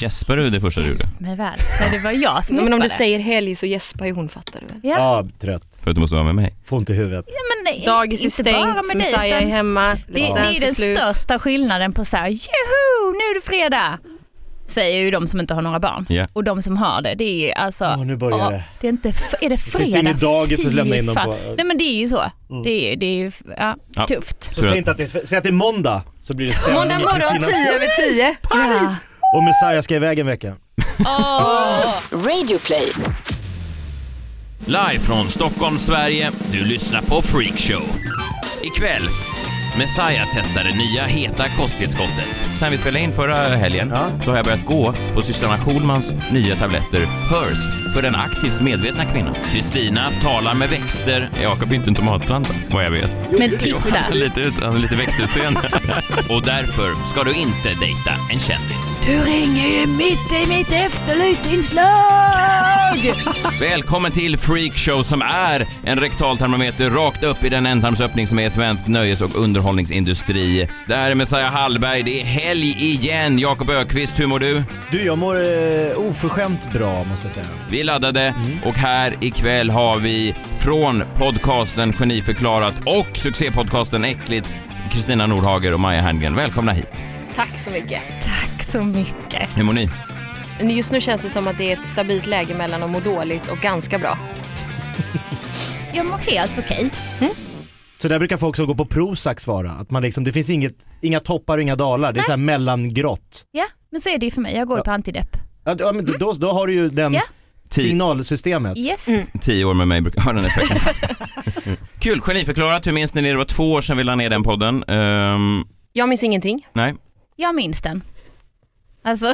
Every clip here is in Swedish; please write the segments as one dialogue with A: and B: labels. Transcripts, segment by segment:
A: Jesper du det första du gjorde?
B: mig väl. Nej, det var jag som
C: Ja, men om du
B: gäspade.
C: säger helg så gäspar ju hon fattar du väl?
B: Ja.
D: Ja, trött.
A: För att du måste vara med mig.
D: Får ont i huvudet.
B: Ja, men nej,
C: Dagis är
B: inte bara
C: stängt,
B: med dig,
C: Messiah är
B: utan
C: hemma,
B: Det, det är ju den största skillnaden på så här, joho, nu är det fredag. Säger ju de som inte har några barn.
A: Ja.
B: Och de som har det, det är ju alltså...
D: Åh, nu börjar
B: ja,
D: det.
B: det. är, inte f- är det fredag?
D: finns det inget dagis att
B: Fy
D: lämna in dem
B: fan.
D: på. Mm.
B: Nej men det är ju så. Det är ju det är ju, f- ja,
A: Ja.
B: tufft.
D: Så
A: Tror
D: säg
A: jag-
D: inte att det är, säg att det är måndag så blir det stämning.
C: Måndag morgon
D: Kristina.
C: 10 över 10.
B: Ja.
D: Och Messiah ska iväg en vecka.
A: Live från Stockholm, Sverige. Du lyssnar på Freakshow. Ikväll, Messiah testar det nya heta kosttillskottet. Sen vi spelade in förra helgen så har jag börjat gå på systrarna Schulmans nya tabletter HERS för den aktivt medvetna kvinnan. Kristina talar med växter. Jakob är inte en tomatplanta, vad jag vet.
B: Men
A: Jo,
B: titta.
A: han har lite, ut, han har lite växtutseende. Och därför ska du inte dejta en kändis.
B: Du ringer ju mitt i mitt efterlytningslag!
A: Välkommen till Freakshow som är en rektaltermometer rakt upp i den ändtarmsöppning som är svensk nöjes och underhållningsindustri. Det här är Messiah Hallberg, det är helg igen. Jakob Ökvist, hur mår du?
D: Du, jag mår eh, oförskämt bra måste jag säga.
A: Vi är laddade och här ikväll har vi från podcasten Geniförklarat och succépodcasten Äckligt Kristina Nordhager och Maja Herngren. Välkomna hit.
C: Tack så mycket.
B: Tack så mycket.
A: Hur mår ni?
C: Men Just nu känns det som att det är ett stabilt läge mellan att må dåligt och ganska bra.
B: Jag mår helt okej.
D: Så där brukar folk som går på Prozac svara. Att man liksom, det finns inget, inga toppar och inga dalar. Det är så här mellangrått.
B: Ja, men så är det ju för mig. Jag går ju på antidepp.
D: Ja, d- Ja, men då, då har du ju den
B: Ja.
A: Ti-
D: signalsystemet.
B: Yes.
C: Mm.
A: tio år med mig brukar ha den effekten. Kul, Geniförklarat, hur minns ni det? Det var två år sedan vi la ner den podden. Ehm,
C: Jag minns ingenting.
A: nej.
B: Jag minns den. Alltså,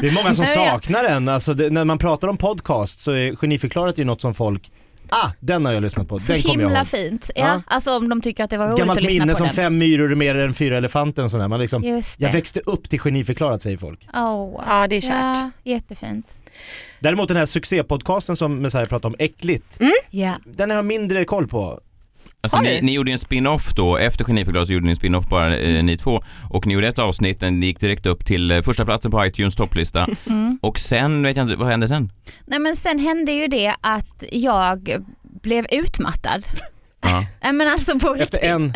D: Det är många som
B: Nej, jag-
D: saknar den. Alltså, det, när man pratar om podcast så är geniförklarat ju något som folk, ah den har jag lyssnat på,
B: så
D: den kommer jag
B: himla
D: ihåg.
B: fint. Ja,
D: Ja.
B: Alltså om de tycker att det var roligt
D: Gammalt
B: att lyssna
D: minne
B: på
D: som
B: den.
D: fem myror är mer än fyra elefanter och sådär. Man liksom,
B: Just
D: jag
B: det.
D: växte upp till geniförklarat säger folk.
B: Åh.
C: Ja, det är kärt.
B: Ja, jättefint.
D: Däremot den här succépodcasten som Messiah pratade om, Äckligt,
B: Mm. Ja.
D: den har jag mindre koll på.
A: Alltså,
C: Har
A: ni,
C: ni?
A: ni gjorde ju en spin-off då, efter Geniförklarat så gjorde ni en spin-off bara eh,
C: Mm.
A: ni två och ni gjorde ett avsnitt, den gick direkt upp till eh, första platsen på iTunes topplista
C: Mm.
A: och sen vet jag inte, vad hände sen?
B: Nej men sen hände ju det att jag blev utmattad.
A: Ja.
B: Nej men alltså på
D: Efter
B: riktigt.
D: en...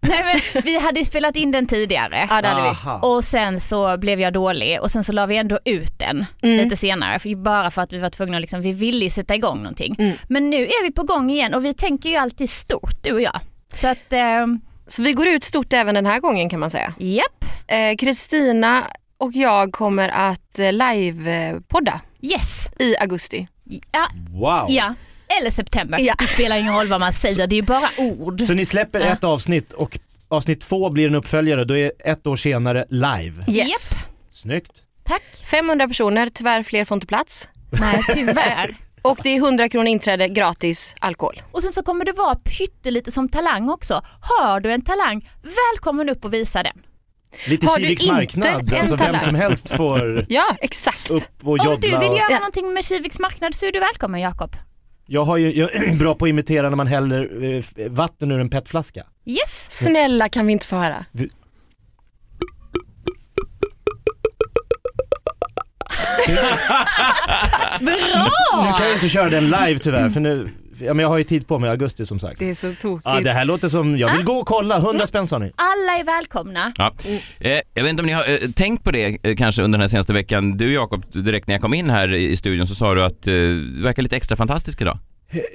B: Nej, men vi hade spelat in den tidigare.
C: Ja, det hade vi.
B: Och sen så blev jag dålig och sen så la vi ändå ut den
C: Mm.
B: lite senare. För, bara för att vi var tvungna, att liksom, vi ville ju sätta igång någonting.
C: Mm.
B: Men nu är vi på gång igen och vi tänker ju alltid stort du och jag. Så att, ehm,
C: Så vi går ut stort även den här gången kan man säga.
B: japp.
C: Eh, Kristina och jag kommer att eh, live-podda
B: Yes.
C: i augusti.
B: Ja,
D: Wow!
B: ja. Eller september.
C: Ja.
B: Det spelar ingen roll vad man säger, det är ju bara ord.
D: Så ni släpper ett avsnitt och avsnitt två blir en uppföljare, då är ett år senare live.
C: Yes.
D: Snyggt.
B: Tack.
C: 500 personer, tyvärr fler får inte plats.
B: Nej, tyvärr.
C: Och det är 100 kronor inträde, gratis alkohol.
B: Och sen så kommer det vara pyttelite som talang också. Har du en talang, välkommen upp och visa den.
D: Lite
C: Har du
D: Kiviks
C: inte
D: marknad,
C: en
D: alltså vem
C: talang?
D: som helst får
C: Ja, exakt.
D: upp och
B: Om du
D: joddla.
B: vill
D: Och...
B: göra
C: Ja.
B: någonting med Kiviks marknad så är du välkommen Jakob.
D: Jag, har ju, jag är bra på att imitera när man häller eh, f- vatten ur en petflaska.
B: Yes.
C: Snälla kan vi inte få höra?
D: Nu kan jag inte köra den live tyvärr, för nu, ja, men jag har ju tid på mig i augusti som sagt.
C: Det är så tokigt.
D: Ja, det här låter som, jag vill gå och kolla, 100 spänn sa ni.
B: Alla är välkomna.
A: Ja. Eh, jag vet inte om ni har eh, tänkt på det eh, kanske under den här senaste veckan. Du Jakob, direkt när jag kom in här i i studion så sa du att eh, du verkar lite extra fantastisk idag.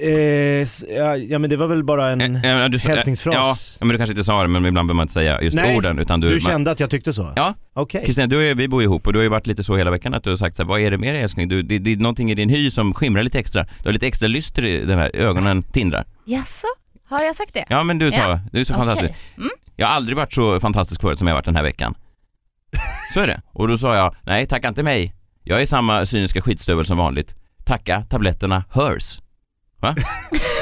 D: Eh, s- ja, ja men det var väl bara en...
A: eh, du, sa-
D: Mm. hälsningsfras.
A: Ja, men du kanske inte sa det men ibland behöver man inte säga just
D: Nej,
A: orden utan du...
D: du kände att jag tyckte så?
A: Ja,
D: Okej.
A: Kristina, du och jag, vi bor ihop och du har ju varit lite så hela veckan att du har sagt så här, vad är det med dig älskling? Du, det, det är någonting i din hy som skimrar lite extra. Du har lite extra lyster i den här, ögonen tindrar.
B: Jaså, har jag sagt det?
A: Ja men du sa,
B: Ja.
A: du är så
B: Okej.
A: fantastisk. Jag har aldrig varit så fantastisk förut som jag har varit den här veckan. Så är det. Och då sa jag, nej tacka inte mig. Jag är samma cyniska skitstövel som vanligt. Tacka tabletterna HERS. Va?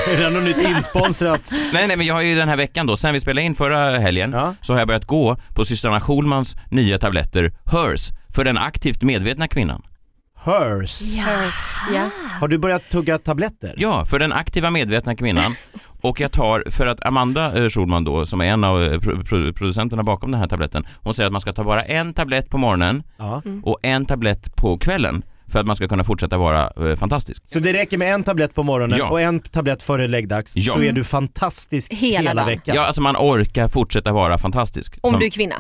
D: Är det något nytt insponsrat?
A: Nej, nej, men jag har ju den här veckan då, sen vi spelade in förra helgen,
D: Ja.
A: så har jag börjat gå på systrarna Schulmans nya tabletter HERS för den aktivt medvetna kvinnan.
D: Hers.
C: Hers. Ja.
D: Har du börjat tugga tabletter?
A: Ja, för den aktiva medvetna kvinnan. Och jag tar, för att Amanda eh, Schulman då, som är en av eh, pro- pro- producenterna bakom den här tabletten, hon säger att man ska ta bara en tablett på morgonen
D: Ja.
A: och en tablett på kvällen för att man ska kunna fortsätta vara eh, fantastisk.
D: Så det räcker med en tablett på morgonen
A: Ja.
D: och en tablett före läggdags
A: Ja.
D: så är du fantastisk
C: Hela
D: hela,
C: dagen.
A: Ja.
D: veckan.
A: alltså man orkar fortsätta vara fantastisk.
C: Om
A: Som-
C: du är kvinna.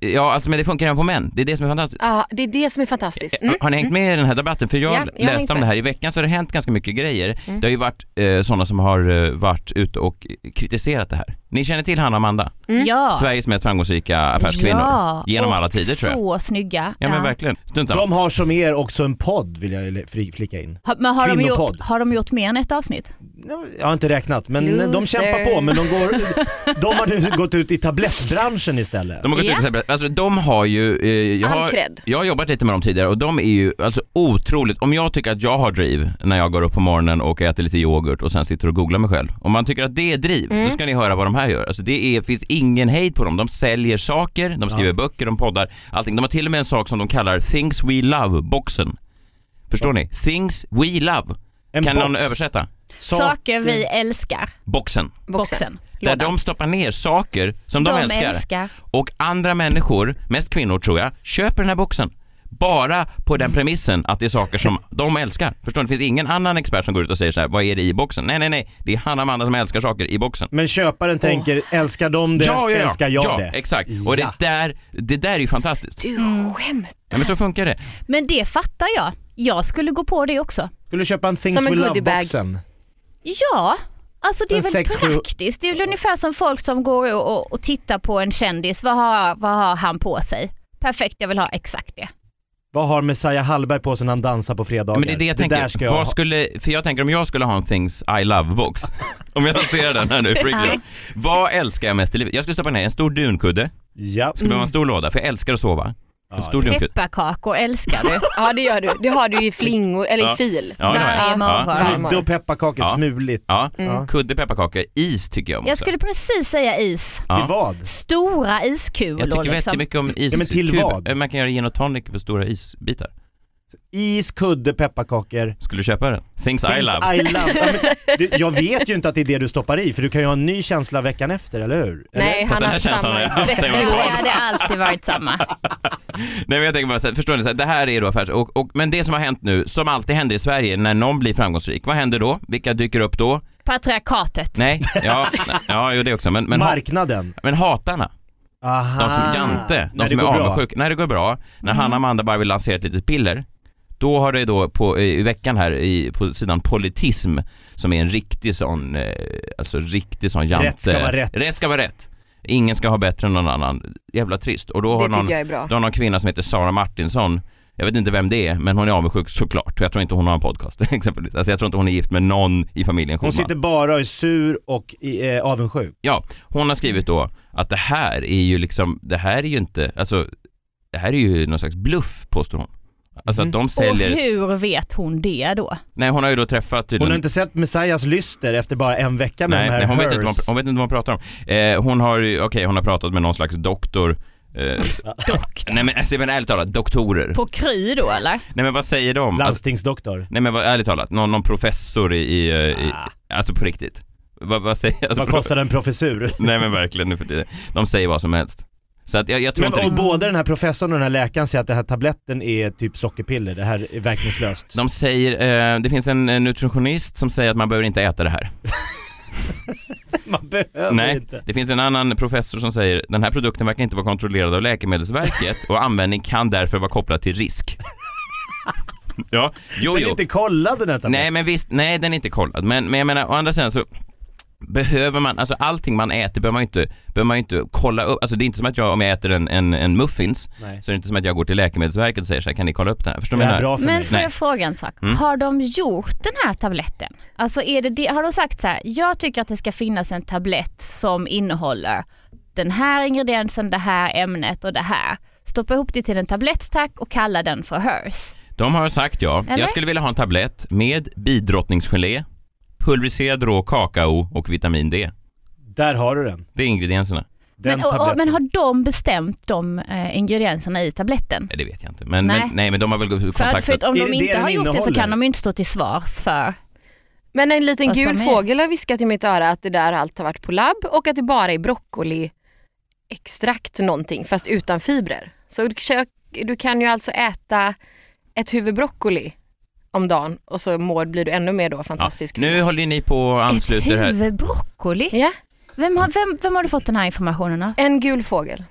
A: Ja, alltså men det funkar även på män, det är det som är fantastiskt.
C: Ja, det är det som är fantastiskt.
A: Har-
C: Mm.
A: Har ni hängt med i den här debatten? För jag
C: Ja, jag
A: läste
C: har
A: om
C: hängt Mm.
A: det här i veckan så har det hänt ganska mycket grejer. Det har ju varit eh, sådana som har eh, varit ute och kritiserat det här. Ni känner till Hanna och Amanda,
D: Mm.
B: Ja.
A: Sveriges mest framgångsrika affärskvinnor
B: Ja,
A: genom
B: och
A: alla tider tror jag.
B: Så snygga.
A: Ja men verkligen, stuntar
D: De har som er också en podd vill jag le- fri- flika in.
B: Har, men har, de
D: Kvinnopodd.
B: gjort, har de gjort mer än ett avsnitt?
D: Ja, Jag har inte räknat men de
C: Loser.
D: kämpar på men de, går, de har nu gått ut i tablettbranschen istället.
A: De har gått
B: Ja.
A: ut och sagt- alltså de har ju... Eh, jag,
C: All
A: har,
C: cred.
A: jag har jobbat lite med dem tidigare och de är ju alltså otroligt, om jag tycker att jag har driv när jag går upp på morgonen och äter lite yoghurt och sen sitter och googlar mig själv. Om man tycker att det är driv,
C: Mm.
A: då ska ni höra vad de här gör. Alltså det är, finns ingen hejd på dem. De säljer saker, de skriver böcker, de poddar, allting. De har till och med en sak som de kallar Things We Love-boxen. Förstår ni? Things We Love.
D: En
A: kan
D: box.
A: någon översätta?
D: Sak-
B: Saker vi
A: Mm.
B: älskar.
A: Boxen.
B: Boxen.
A: Där de stoppar ner saker som de,
B: De
A: älskar.
B: älskar.
A: Och andra människor, mest kvinnor tror jag, köper den här boxen. Bara på den premissen att det är saker som de älskar. Förstår ni? Det finns ingen annan expert som går ut och säger så här, vad är det i boxen? Nej, nej, nej, det är Hanna och Amanda som älskar saker i boxen.
D: Men köparen tänker, älskar de det, älskar jag
A: ja,
D: det?
A: exakt. Och det
D: Ja.
A: där, det där är ju fantastiskt.
C: Du skämtar.
A: Ja, men så funkar det.
B: Men det fattar jag. Jag skulle gå på det också.
D: Skulle du köpa en Things
C: Som en
D: We
C: goodiebag.
D: Love-boxen?
B: Ja, alltså det är
D: En
B: väl
D: sex, sju-
B: praktiskt. Det är väl ungefär som folk som går och, och, och tittar på en kändis. Vad har, vad har han på sig? Perfekt, jag vill ha exakt det.
D: Vad har Messiah Hallberg på sig när han dansar på
A: Ja,
D: fredagar?
A: men det är det jag tänker.
D: där ska jag
A: Vad
D: ha.
A: skulle, för jag tänker om jag skulle ha en Things I Love-box, om jag lanserar den här nu, Freakley. Vad älskar jag mest i livet? Jag skulle stoppa ner en stor dunkudde,
D: Ja. Mm.
A: skulle
B: Mm.
A: behöva en stor låda, för jag älskar att sova. En stor dunkudde.
B: Pepparkakor älskar du.
C: Ja det gör du. Det har du i flingor, eller
A: Ja.
C: i fil.
A: Ja, det har jag.
B: Varje morgon.
A: Ja.
D: Krydda och pepparkakor,
A: Ja.
D: smuligt.
A: Ja,
D: Mm.
A: kudde, pepparkakor, is tycker jag om
B: Jag
A: också.
B: skulle precis säga is.
A: Ja.
D: Till vad?
B: Stora iskulor
A: Jag tycker
B: liksom.
A: jättemycket om is.
D: Ja, men till vad?
A: Man kan göra gin och tonic på stora isbitar.
D: Is, kudde, pepparkakor.
A: Skulle du köpa den? Things, I
D: Things
A: love.
D: I love. Ja, men, du, jag vet ju inte att det är det du stoppar i för du kan ju ha en ny känsla veckan efter, eller hur?
C: Nej,
A: Fast den
C: han har
A: här
C: haft
A: känslan har
C: samma
A: jag haft sen jag var
B: Det
A: barn.
B: hade alltid varit samma.
A: Nej men jag tänker bara så här, förstår ni, så här, det här är då affärs... Och, och, men det som har hänt nu, som alltid händer i Sverige när någon blir framgångsrik, vad händer då? Vilka dyker upp då?
B: Patriarkatet.
A: Nej, ja, ja jo, det också. Men, men, ha,
D: Marknaden.
A: men hatarna,
D: Aha.
A: de
C: Ah.
A: som Jante, de
D: När det
A: som är
D: går bra.
A: avundsjuka, när det går bra, när
C: Mm.
A: Hanna och Amanda bara vill lansera ett litet piller, då har det då på, i veckan här i, på sidan politism, som är en riktig sån, eh, alltså riktig sån jante.
D: Rätt ska vara rätt.
A: Rätt ska vara rätt. Ingen ska ha bättre än någon annan. Jävla trist. Och då har
C: Det
A: någon,
C: tycker jag är bra.
A: då har någon kvinna som heter Sara Martinsson jag vet inte vem det är, men hon är avundsjuk såklart. Jag tror inte hon har en podcast exempelvis. Alltså jag tror inte hon är gift med någon i familjen
D: Hon
A: Schulman.
D: sitter bara och är sur och i- eh, avundsjuk.
A: Ja, hon har skrivit då att det här är ju liksom, det här är ju inte, alltså det här är ju någon slags bluff påstår hon. Alltså
D: Mm.
A: att de
B: Och
A: säljer,
B: hur vet hon det då?
A: nej hon har ju då träffat
D: Hon
A: tydligen
D: har inte sett Messias lyster efter bara en vecka med
A: Nej,
D: de här
A: nej hon, vet inte vad hon,
D: hers.
A: hon vet inte vad hon pratar om. Eh, hon har ju- okej hon har pratat med någon slags doktor. Eh,
B: Doktor.
A: nej men, alltså, men ärligt talat, doktorer.
B: På Kry då eller?
A: Nej men vad säger de? Alltså,
D: Landstingsdoktor.
A: nej men vad, ärligt talat, någon, någon professor i, i, eh, i alltså på riktigt. Vad, vad säger, alltså,
D: Ah. Vad kostar en professur?
A: Nej men verkligen nu för tiden. De säger vad som helst. Så att jag, jag tror
D: Men,
A: inte
D: och
A: det-
D: både den här professorn och den här läkaren säger att den här tabletten är typ sockerpiller, det här är verkningslöst.
A: De säger, eh, det finns en eh, nutritionist som säger att man behöver inte äta det här.
D: Man behöver
A: Nej,
D: inte.
A: det finns en annan professor som säger den här produkten verkar inte vara kontrollerad av Läkemedelsverket och användning kan därför vara kopplad till risk. ja, jo,
D: Men
A: jo.
D: inte kolla den här tabletten.
A: Nej, men visst, nej den är inte kollad. Men, men jag menar, å andra sidan så behöver man, alltså allting man äter behöver man ju inte, behöver man ju inte kolla upp. Alltså det är inte som att jag, om jag äter en, en, en muffins,
D: Nej.
A: så är det inte som att jag går till Läkemedelsverket och säger så här, kan ni kolla upp det här? Förstår
D: Är
A: du
D: det
A: vad jag
D: här
A: menar?
D: bra för
B: Men
D: mig? Mm.
B: får
A: Nej.
B: jag fråga en sak? Har de gjort den här tabletten? Alltså är det det? Har de sagt så här, jag tycker att det ska finnas en tablett som innehåller den här ingrediensen, det här ämnet och det här. Stoppa ihop det till en tablett tack och kalla den för HERS.
A: De har sagt ja.
B: Eller?
A: Jag skulle vilja ha en tablett med bidrottningsgelé, pulveriserad rå kakao och vitamin D.
D: Där har du den.
A: Det är ingredienserna.
D: den
B: Men, och, och,
D: tabletten.
B: men har de bestämt de eh, ingredienserna i tabletten?
A: Nej, det vet jag inte. Men,
B: Nej.
A: nej. Men, nej, men de har väl
B: För,
A: kontaktat...
B: för om
D: Är det
B: de
D: det
B: inte
D: den
B: har gjort det så
D: innehåller?
B: kan de ju inte stå till svars för...
C: Men en liten
B: Vad
C: gul
B: som är.
C: fågel har viskat i mitt öra att det där allt har varit på labb och att det bara är broccoli extrakt någonting fast utan fibrer. Så du kö- du kan ju alltså äta ett huvud broccoli om dagen och så mår, blir du ännu mer då
A: ja.
C: fantastisk.
A: Nu håller ni på och
B: Ett
A: ansluter här.
B: huvud broccoli?
C: Ja,
B: Vem har, vem, vem har du fått den här informationen av?
C: en gul fågel.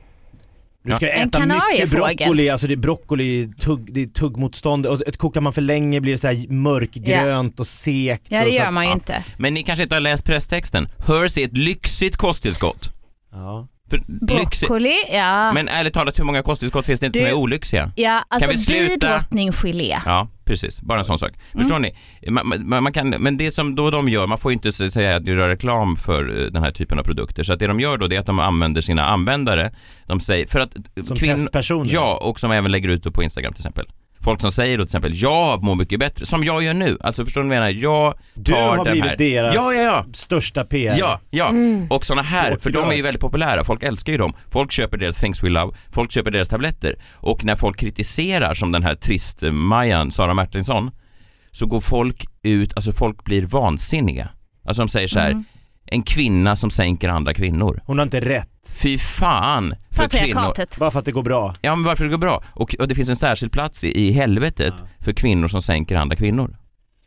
D: Du ska
B: En
D: äta mycket
B: kanariefågel.
D: broccoli, alltså det är broccoli, tugg, det är tuggmotstånd. Och ett kokar man för länge blir det så här mörkgrönt och sekt.
B: Ja det
D: och så
B: gör
D: att-
B: man ju
D: ja.
B: inte.
A: Men ni kanske inte har läst presstexten. Hers är ett lyxigt kosttillskott.
D: Ja.
A: För lyxigt.
B: Broccoli, ja.
A: Men ärligt talat, hur många kosttillskott finns det inte
B: Du-
A: som är olyxiga?
B: ja alltså
A: vi sluta?
B: bidrottninggelé.
A: Ja, precis. Bara en sån sak. Förstår ni? Man, man, man kan, men det som då de gör, man får ju inte s- säga att du gör reklam för eh, den här typen av produkter. Så att det de gör då det är att de använder sina användare. De säger, för att eh,
D: Som
A: kvinn-
D: testpersoner.
A: Ja, och som även lägger ut det på Instagram till exempel. Folk som säger då till exempel, jag mår mycket bättre, som jag gör nu. Alltså förstår ni vad jag menar? Jag tar
D: Du har
A: den här.
D: blivit deras
A: Ja, ja, ja.
D: största PR.
A: Ja, ja.
D: Mm.
A: och såna här,
D: Och
A: för de är ju
D: glad.
A: väldigt populära, folk älskar ju dem. Folk köper deras Things We Love, folk köper deras tabletter och när folk kritiserar som den här trist-Majan, Sara Martinsson, så går folk ut, alltså folk blir vansinniga. Alltså de säger så
D: Mm.
A: här, en kvinna som sänker andra kvinnor.
D: Hon har inte rätt.
A: Fy fan för kvinnor.
B: Patriarkatet.
D: Bara för att det går bra.
A: Ja men varför det går bra. Och, och det finns en särskild plats i, i helvetet för kvinnor som sänker andra kvinnor.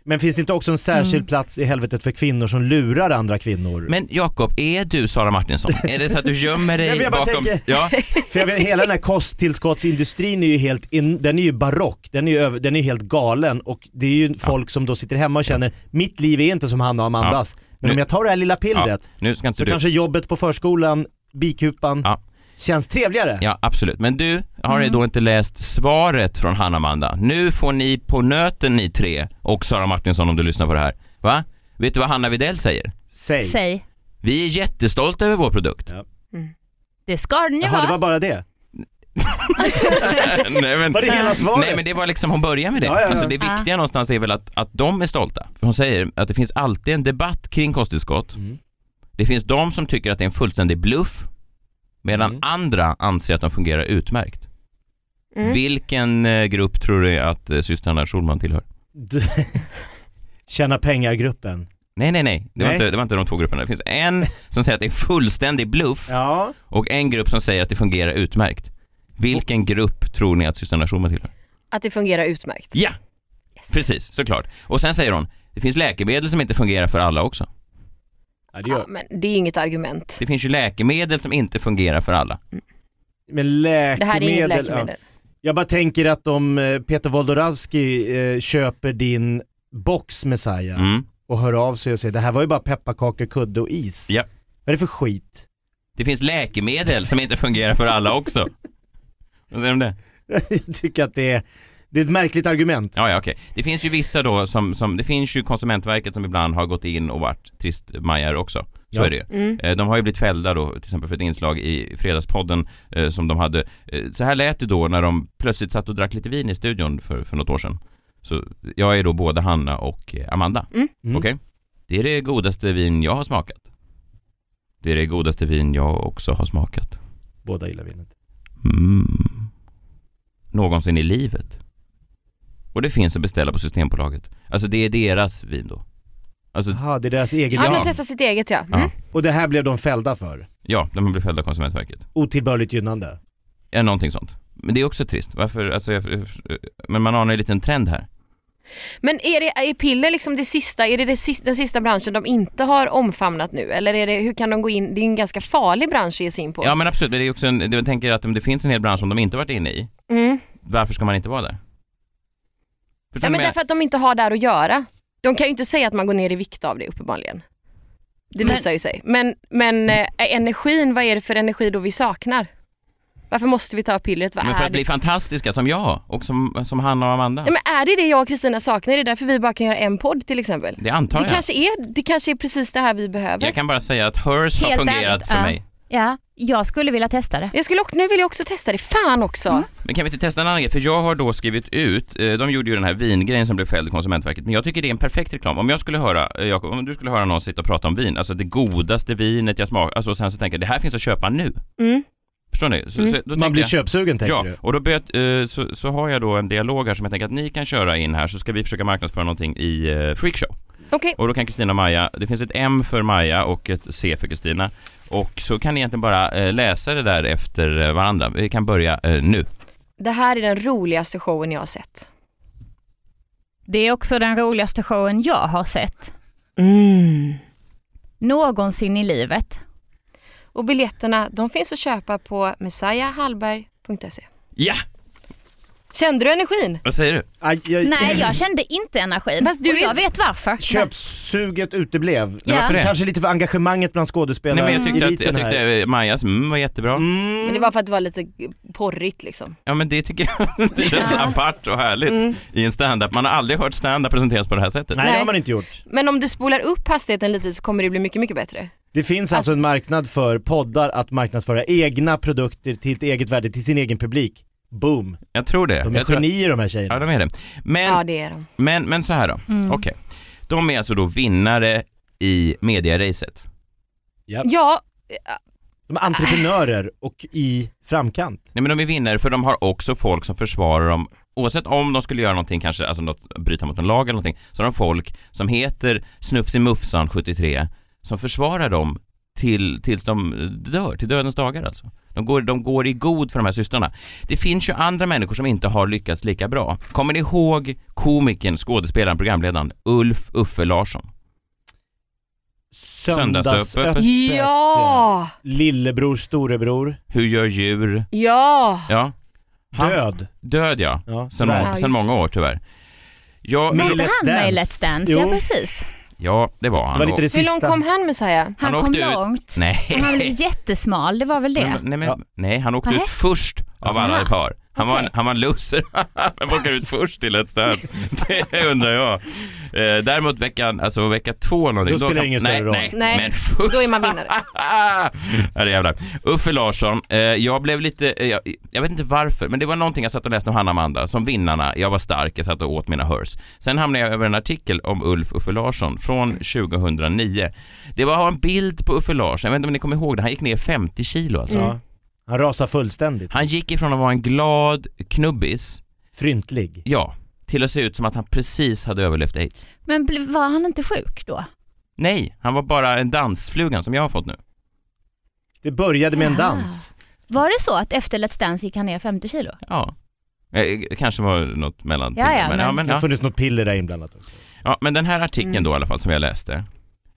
D: Men finns det inte också en särskild
B: Mm.
D: plats i helvetet för kvinnor som lurar andra kvinnor?
A: Men Jakob, är du Sara Martinsson? är det så att du gömmer
D: Nej, men
A: dig
D: jag bara
A: bakom...
D: tänker-
A: Ja,
D: För jag vet, hela den här kosttillskottsindustrin är ju helt, in, den är ju barock, den är ju, över, den är ju helt galen och det är ju folk som då sitter hemma och känner mitt liv är inte som Hanna och Amandas. Men
A: Nu-
D: om jag tar det här lilla
A: ja.
D: pillret
A: Nu ska inte
D: så
A: du...
D: kanske jobbet på förskolan, bikupan,
A: Ja.
D: känns trevligare.
A: Ja, absolut. Men du har ju då inte läst svaret från Hanna Amanda. Nu får ni på nöten ni tre och Sara Martinsson om du lyssnar på det här. Va? Vet du vad Hanna Widell säger?
D: Säg.
B: Säg.
A: Vi är jättestolta över vår produkt.
B: Det ska den ju
D: Jaha, det var
B: vara.
D: bara det.
A: Nej, men,
D: Var det hela svaret?
A: Nej men det var liksom, hon började med det.
D: Ja, ja, ja.
A: Alltså, det viktiga någonstans är väl att, att de är stolta. Hon säger att det finns alltid en debatt kring kosttillskott. Det finns de som tycker att det är en fullständig bluff medan
D: Mm.
A: andra anser att de fungerar utmärkt.
C: Mm.
A: Vilken eh, grupp tror du att eh, systrarna Schulman tillhör?
D: Du- Tjäna pengar-gruppen.
A: Nej, nej, nej. Det, Var
D: Nej.
A: inte, det var inte de två grupperna. Det finns en som säger att det är fullständig bluff
D: Ja.
A: och en grupp som säger att det fungerar utmärkt. Vilken grupp tror ni att systrarna Schulman tillhör?
C: Att det fungerar utmärkt.
A: Ja, precis, såklart. Och sen säger hon, det finns läkemedel som inte fungerar för alla också.
D: ja det
C: Ja,
D: gör.
C: men det är inget argument.
A: Det finns ju läkemedel som inte fungerar för alla.
D: Men läkemedel.
C: Det här är inget
D: ja.
C: läkemedel.
D: Jag bara tänker att om eh, Peter Wolodarski eh, köper din box Messiah
A: Mm.
D: och hör av sig och säger det här var ju bara pepparkakor, kudde och is.
A: Ja.
D: Vad är det för skit?
A: Det finns läkemedel som inte fungerar för alla också. Vad säger du om det?
D: jag tycker att det är, det är ett märkligt argument.
A: Ja, ja, okej. Det finns ju vissa då som, som, det finns ju Konsumentverket som ibland har gått in och varit tristmajar också. Så
D: Ja.
A: är det ju.
C: Mm.
A: Eh, De har ju blivit fällda då, till exempel för ett inslag i Fredagspodden eh, som de hade. Eh, Så här lät det då när de plötsligt satt och drack lite vin i studion för, för något år sedan. Så jag är då både Hanna och eh, Amanda.
D: Mm.
A: Okej? Det är det godaste vin jag har smakat. Det är det godaste vin jag också har smakat.
D: Båda gillar vinet.
A: Mm. Någonsin i livet. Och det finns att beställa på Systembolaget. Alltså det är deras vin då. Alltså
D: Jaha, det är deras egen.
C: Han
A: Ja.
C: har testat sitt eget ja. Mm.
A: Ja.
D: Och det här blev de fällda för.
A: ja, de blir fällda av Konsumentverket.
D: Otillbörligt gynnande.
A: Ja, någonting sånt. Men det är också trist. Varför, alltså jag, jag- men man anar en liten trend här.
C: Men är, det, är piller liksom det sista, är det, det sista, den sista branschen de inte har omfamnat nu? Eller är det, hur kan de gå in, det är en ganska farlig bransch att ge sig in på.
A: Ja men absolut, men det är också en, jag tänker att om det finns en hel bransch som de inte varit inne i,
C: Mm.
A: varför ska man inte vara där? Förstår
C: Ja,
A: du vad
C: men
A: jag menar?
C: därför att de inte har där att göra. De kan ju inte säga att man går ner i vikt av det uppenbarligen. Det
B: Men-
C: visar ju sig. Men, men eh, energin, vad är det för energi då vi saknar? Varför måste vi ta pillret? Vad
A: Men för
C: är
A: att
C: det?
A: bli fantastiska som jag och som, som Hanna och Amanda.
C: Ja, men är det det jag och Kristina saknar? Är det därför vi bara kan göra en podd till exempel?
A: Det antar
C: Det
A: jag.
C: kanske, är, det kanske är precis det här vi behöver.
A: Jag kan bara säga att Hers har
B: Helt
A: fungerat
B: ärligt,
A: för
B: ja.
A: mig.
B: Ja, jag skulle vilja testa det.
C: Jag skulle, också- nu vill jag också testa det. Fan också.
A: Men kan vi inte testa en annan grej? För jag har då skrivit ut, eh, de gjorde ju den här vingrejen som blev fälld i Konsumentverket, men jag tycker det är en perfekt reklam. Om jag skulle höra, eh, Jakob, om du skulle höra någon sitta och prata om vin, alltså det godaste vinet jag smakar, alltså och sen så tänker jag det här finns att köpa nu.
C: Mm.
A: Förstår ni? Så, så, då tänker
D: Man blir
A: jag-
D: köpsugen tänker
A: Ja,
D: du?
A: och då böt, eh, så, så har jag då en dialog här som jag tänker att ni kan köra in här så ska vi försöka marknadsföra någonting i eh, Freakshow.
C: Okej.
A: Och då kan Kristina och Maja, det finns ett M för Maja och ett C för Kristina. Och så kan ni egentligen bara eh, läsa det där efter eh, varandra. Vi kan börja eh, nu.
C: Det här är den roligaste showen jag har sett.
B: Det är också den roligaste showen jag har sett. Någonsin i livet.
C: Och biljetterna de finns att köpa på messiahallberg.se.
A: Ja,
C: Kände du energin?
A: vad säger du?
D: Aj, aj,
B: Nej, jag Mm. kände inte energin.
C: Fast du
B: och jag
C: är-
B: vet varför.
D: Köpsuget uteblev.
B: Ja. Varför
A: det?
D: Kanske lite för engagemanget bland
A: Nej, men jag tyckte, att, jag
D: skådespelareliten här.
A: tyckte Majas mm var jättebra.
C: Men det var för att det var lite porrigt liksom.
A: Ja men det tycker jag det känns apart och härligt i en stand-up. Man har aldrig hört stand-up presenteras på det här sättet.
D: Nej det har
C: Nej.
D: man inte gjort.
C: Men om du spolar upp hastigheten lite så kommer det bli mycket, mycket bättre.
D: Det finns alltså en marknad för poddar att marknadsföra egna produkter till ett eget värde, till sin egen publik. Boom.
A: Jag tror det.
D: De är
A: jag tror att,
D: genier de här
A: ja
D: tjejerna.
A: de är det. Men,
C: Ja, det är de.
A: men, men så här då, okej. De är alltså då vinnare i mediaracet.
C: Ja,
D: De är entreprenörer och i framkant.
A: Nej men de är vinnare för de har också folk som försvarar dem Oavsett om de skulle göra någonting, kanske alltså något, bryta mot en lag eller någonting, så har de folk som heter Snufsimuffsan 73 som försvarar dem till, tills de dör, till dödens dagar alltså. De går, de går i god för de här systrarna. Det finns ju andra människor som inte har lyckats lika bra. Kommer ni ihåg komikern, skådespelaren, programledaren Ulf Uffe Larsson? Söndagsöppet.
C: ja,
D: Lillebror, storebror,
A: Hur gör djur?
C: ja.
A: Ja. Han-
D: död.
A: Död ja.
D: Ja,
A: Sen,
D: tyvärr.
A: må- sen många år tyvärr. Jag,
D: Men-
B: Var
D: I
B: inte
D: Let's
B: han med i
D: Dance.
B: Let's Dance? Ja,
D: Jo.
B: precis.
A: ja, det var han.
D: Det var lite det
C: Hur långt
D: sista.
C: kom han Messiah?
B: Han,
A: Han
B: kom
A: åkte ut.
B: långt.
A: Nej.
B: Han blev jättesmal, det var väl det?
A: Men, nej, men,
D: Ja.
A: nej, han åkte
B: Nähä.
A: ut först av alla
B: Aha.
A: par. Han var, en,
B: Okej.
A: han var en loser. Vem åker ut först i Let's Dance? Det undrar jag. Eh, däremot veckan, alltså vecka två eller någonting,
D: Då spelar det ingen
A: nej,
D: större roll.
A: Nej,
C: Nej,
A: men först.
C: då är man vinnare.
A: Herre jävlar. Uffe Larsson, eh, jag blev lite, eh, jag, jag vet inte varför, men det var någonting jag satt och läste om Hanna Amanda, som vinnarna, jag var stark, jag satt och åt mina hörs. Sen hamnade jag över en artikel om Ulf Uffe Larsson från 2009. Det var en bild på Uffe Larsson, jag vet inte om ni kommer ihåg det, han gick ner 50 kilo alltså.
D: Ja. Han rasar fullständigt.
A: Han gick ifrån att vara en glad knubbis,
D: Fryntlig.
A: ja, till att se ut som att han precis hade överlevt aids.
B: Men ble- var han inte sjuk då?
A: Nej, han var bara en dansflugan som jag har fått nu.
D: Det började med en dans.
B: Var det så att efter Let's Dance gick han ner 50 kilo?
A: Ja. Eh, Kanske var det något mellan
B: Ja, ja,
A: men,
B: men-
A: ja, men,
D: Det har
A: ja.
D: funnits något piller där inblandat också.
A: ja, men den här artikeln
C: Mm.
A: då i alla fall som jag läste.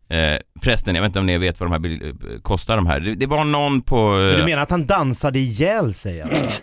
A: Eh, förresten, jag vet inte om ni vet vad de här bil- eh, kostar de här. Det, det var någon på...
D: Men
A: eh,
D: du menar att han dansade ihjäl sig? Alltså?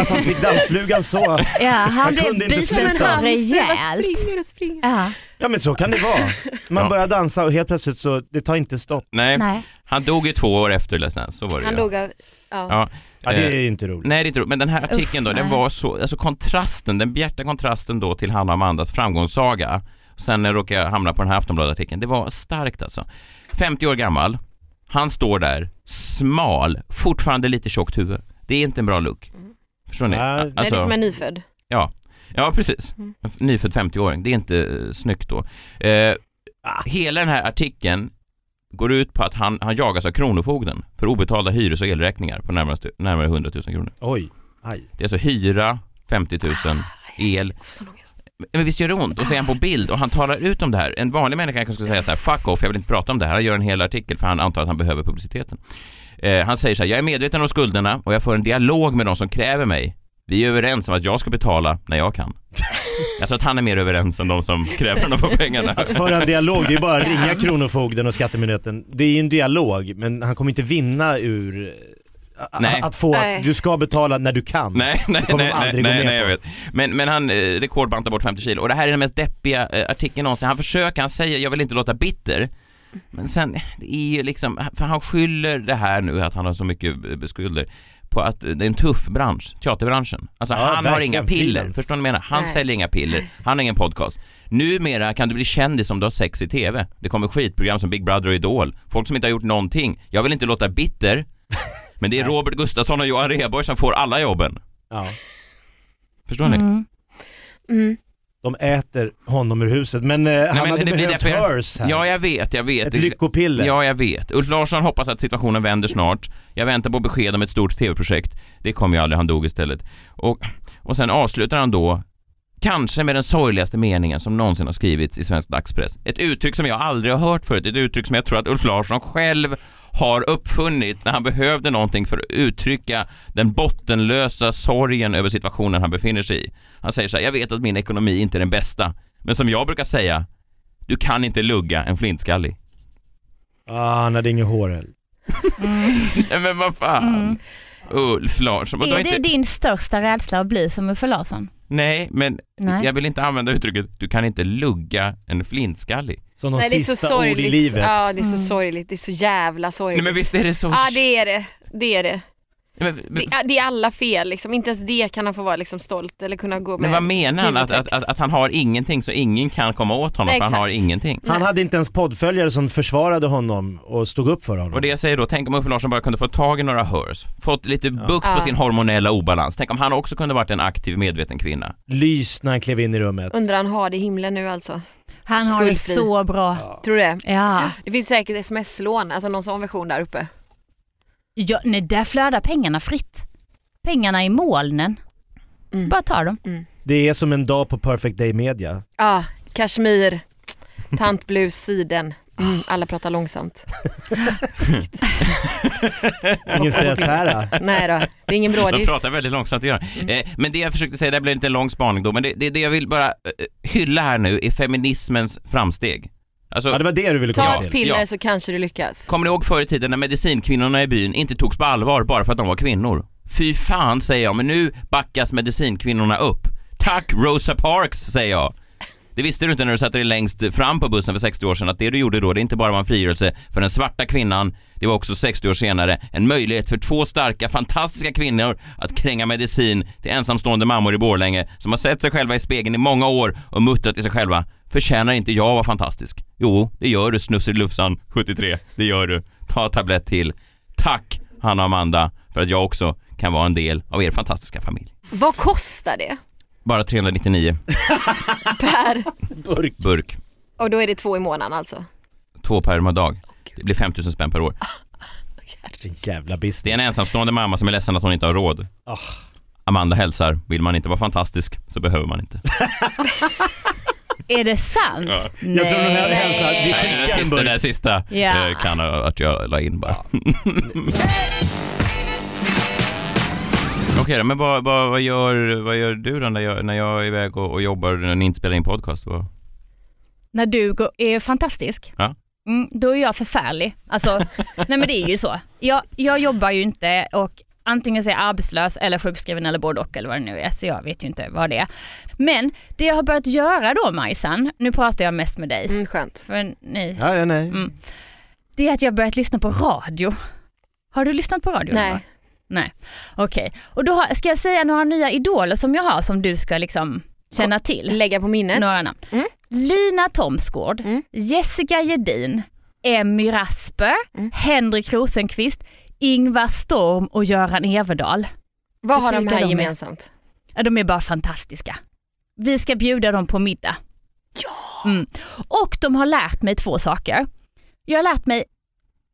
D: att han fick dansflugan så?
B: Ja, han
D: blev kunde
B: blev
D: inte biten
B: biten
D: sluta.
B: så
D: så
B: rejält.
C: Springer och springer.
B: Ja,
D: Ja men så kan det vara. Man
A: Ja.
D: börjar dansa och helt plötsligt så, det tar inte stopp.
A: nej,
B: nej.
A: han dog ju två år efter Let's Dance, så var det
C: Han
A: ju.
C: dog av, ja.
A: Ja, eh,
D: Ja det är ju inte roligt.
A: Nej, det är inte roligt. Men den här artikeln då,
B: Uff,
A: den
B: nej.
A: var så, alltså kontrasten, den bjärta kontrasten då till Hanna och Amandas framgångssaga. Sen när jag råkade jag hamna på den här Aftonbladet-artikeln. Det var starkt alltså. 50 år gammal, han står där, smal, fortfarande lite tjockt huvud. Det är inte en bra look. Förstår ni?
D: Nej.
A: A-
D: Nej,
C: Nej, Mm. det är som
A: Alltså,
C: en nyfödd.
A: ja, precis.
C: Mm.
A: En f- Nyfödd 50-åring, det är inte eh, snyggt då. Eh, hela den här artikeln går ut på att han, han jagas av Kronofogden för obetalda hyres och elräkningar på närmare, närmare 100 000 kronor.
D: Oj, aj.
A: Det är alltså hyra, 50 000, el.
C: Jag får sån ångest.
A: Men visst gör det ont? Och så är han på bild och han talar ut om det här. En vanlig människa kanske skulle säga så här, fuck off, jag vill inte prata om det här. Han gör en hel artikel för han antar att han behöver publiciteten. Eh, han säger så här, jag är medveten om skulderna och jag för en dialog med de som kräver mig. Vi är överens om att jag ska betala när jag kan. Jag tror att han är mer överens än de som kräver honom på pengarna.
D: Att föra en dialog, det är bara att ringa Kronofogden och Skattemyndigheten. Det är ju en dialog men han kommer inte vinna ur a-
A: Nej.
D: att få
C: Nej.
D: att du ska betala när du kan.
A: Nej, nej,
D: kommer
A: nej,
D: de
A: nej,
D: aldrig gå
A: nej,
D: med
A: nej jag
D: på.
A: vet. Men, men han eh, rekordbantar bort 50 kilo och det här är den mest deppiga eh, artikeln någonsin. Han försöker, han säger jag vill inte låta bitter. Men sen, det är ju liksom, för han skyller det här nu att han har så mycket eh, skulder på att det är en tuff bransch, teaterbranschen. Alltså
D: Ja,
A: han har
D: verkligen,
A: inga piller,
D: frilans.
A: förstår ni vad jag menar? Han
C: Nej.
A: säljer inga piller, han har ingen podcast. Numera kan du bli kändis om du har sex i TV. Det kommer skitprogram som Big Brother och Idol. Folk som inte har gjort någonting. Jag vill inte låta bitter, men det är Robert Gustafsson och Johan Rheborg som får alla jobben.
D: Ja.
A: Förstår
D: Mm.
A: ni?
C: Mm.
D: De äter honom ur huset, men eh,
A: men
D: han hade
A: det blir
D: behövt
A: därför jag-
D: hers här.
A: Ja, jag vet, jag vet.
D: Ett lyckopiller.
A: Ja, jag vet. Ulf Larsson hoppas att situationen vänder snart. Jag väntar på besked om ett stort tv-projekt. Det kom ju aldrig, han dog istället. Och, och sen avslutar han då, kanske med den sorgligaste meningen som någonsin har skrivits i svensk dagspress. Ett uttryck som jag aldrig har hört förut, ett uttryck som jag tror att Ulf Larsson själv har uppfunnit när han behövde någonting för att uttrycka den bottenlösa sorgen över situationen han befinner sig i. Han säger så här, jag vet att min ekonomi inte är den bästa, men som jag brukar säga, du kan inte lugga en flintskallig.
D: Ah, han hade inget hår heller.
A: Nej men vad fan. Ulf Larsson. Och då
B: Mm. Är det
A: inte...
B: din största rädsla att bli som Uffe Larsson?
A: Nej, men
B: Nej.
A: jag vill inte använda uttrycket du kan inte lugga en flintskallig.
D: Som de
C: Nej, det är så
D: sista ord i
C: sorgligt.
D: livet.
C: Ja, det är så
B: Mm.
C: sorgligt. Det är så jävla sorgligt.
A: Nej men visst är det så...
C: Ja, det är det. Det är det.
A: Nej, men, men,
C: Det är, det är alla fel liksom. Inte ens det kan han få vara liksom, stolt eller kunna gå med.
A: men vad menar han? Att, att,
C: huvudtäckt.
A: att, att han har ingenting så ingen kan komma åt honom
C: Nej,
A: för han har
C: exakt.
A: ingenting.
D: Han hade inte ens poddföljare som försvarade honom och stod upp för honom.
A: Och det jag säger då, tänk om Ulf Larsson bara kunde få tag i några hörs, fått lite bukt på
C: Ja.
A: sin hormonella obalans. Tänk om han också kunde varit en aktiv medveten kvinna.
D: Lys när han klev in i rummet.
C: Undrar han har det i himlen nu alltså?
B: Han har det
C: Skuldfri.
B: så bra.
C: Tror du det?
B: Ja.
C: Det finns säkert sms-lån, alltså någon sån version där uppe.
B: ja, nej där flödar pengarna fritt. Pengarna i molnen.
C: Mm.
B: Bara ta dem.
D: Det är som en dag på Perfect Day Media.
C: Ja, kashmir, tantblus, siden. Mm, alla pratar långsamt.
D: Ingen stress här. då.
C: Nej då, det är ingen
A: De
C: brådis.
A: pratar väldigt långsamt att göra.
D: Mm.
A: Eh, men det jag försökte säga, det här blev inte en lång spaning då, men det, det, det jag vill bara eh, hylla här nu är feminismens framsteg. Alltså,
D: Ja, det var det du ville komma
C: Ta
A: Ja.
C: ett
D: till.
C: piller
A: Ja.
C: så kanske du lyckas.
A: Kommer ni ihåg förr i tiden när medicinkvinnorna i byn inte togs på allvar bara för att de var kvinnor? Fy fan säger jag, men nu backas medicinkvinnorna upp. Tack Rosa Parks säger jag. Det visste du inte när du satte dig längst fram på bussen för 60 år sedan att det du gjorde då, det inte bara var en frigörelse för den svarta kvinnan, det var också 60 år senare en möjlighet för två starka, fantastiska kvinnor att kränga medicin till ensamstående mammor i Borlänge som har sett sig själva i spegeln i många år och muttrat till sig själva “Förtjänar inte jag att vara fantastisk?” Jo, det gör du Snusselufsan, 73. Det gör du. Ta en tablett till. Tack Hanna och Amanda för att jag också kan vara en del av er fantastiska familj.
C: Vad kostar det
A: Bara 399
C: per?
D: Burk.
A: burk.
C: Och då är det två i månaden alltså.
A: två per dag. Det blir 5 000 spänn per år.
D: Ah. Vilken jävla
A: Det är
D: business.
A: en ensamstående mamma som är ledsen att hon inte har råd.
D: Ah.
A: Amanda hälsar, vill man inte vara fantastisk så behöver man inte.
B: Är det sant?
A: Ja.
B: Nej.
D: Jag tror den här hälsar, vi
A: Nej, den
D: skickar en
A: sista, den
D: burk.
A: sista
B: Ja.
A: eh, kan jag- att jag la in bara. Okej då, men vad, vad, vad, gör, vad gör du då när jag, när jag är iväg och, och jobbar när ni inte spelar in podcast? Vad?
B: När du går, är fantastisk,
A: Ja.
B: mm, då är jag förfärlig. Alltså, nej men det är ju så. Jag, jag jobbar ju inte och antingen så är jag arbetslös eller sjukskriven eller både och eller vad det nu är. Så jag vet ju inte vad det är. Men det jag har börjat göra då Majsan, nu pratar jag mest med dig,
C: Mm, skönt.
B: för ni,
D: Ja, ja, nej.
B: Mm. det är att jag har börjat lyssna på radio. Har du lyssnat på radio?
C: Nej.
B: någon gång? Nej. Okej, och då har, ska jag säga några nya idoler som jag har som du ska liksom känna till?
C: Lägga på minnet.
B: Några namn.
C: Mm.
B: Lina Thomsgård,
C: Mm.
B: Jessica Gedin, Emmy Rasper,
C: Mm.
B: Henrik Rosenqvist, Ingvar Storm och Göran Everdahl.
C: Vad har
B: Jag
C: de
B: tycker
C: här
B: de är-
C: gemensamt?
B: Ja, de är bara fantastiska. Vi ska bjuda dem på middag. Ja! Mm. Och de har lärt mig två saker. Jag har lärt mig,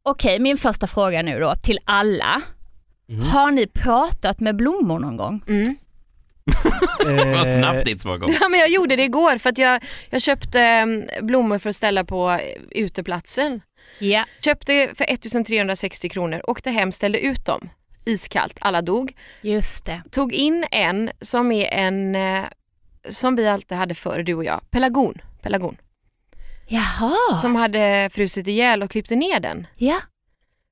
B: okej min första fråga nu då till alla.
A: Mm.
B: Har ni pratat med blommor någon gång?
C: Mm.
A: Vad
D: Eh,
A: snabbt ditt svar går.
C: Ja, men jag gjorde det igår för att jag, jag köpte eh, blommor för att ställa på eh, uteplatsen.
B: Ja.
C: Köpte för 1360 kronor, åkte hem, ställde ut dem. Iskallt, alla dog.
B: Just det.
C: Tog in en som är en, eh, som vi alltid hade förr du och jag, pelargon. pelargon
B: Jaha.
C: Som hade frusit ihjäl och klippte ner den.
B: ja.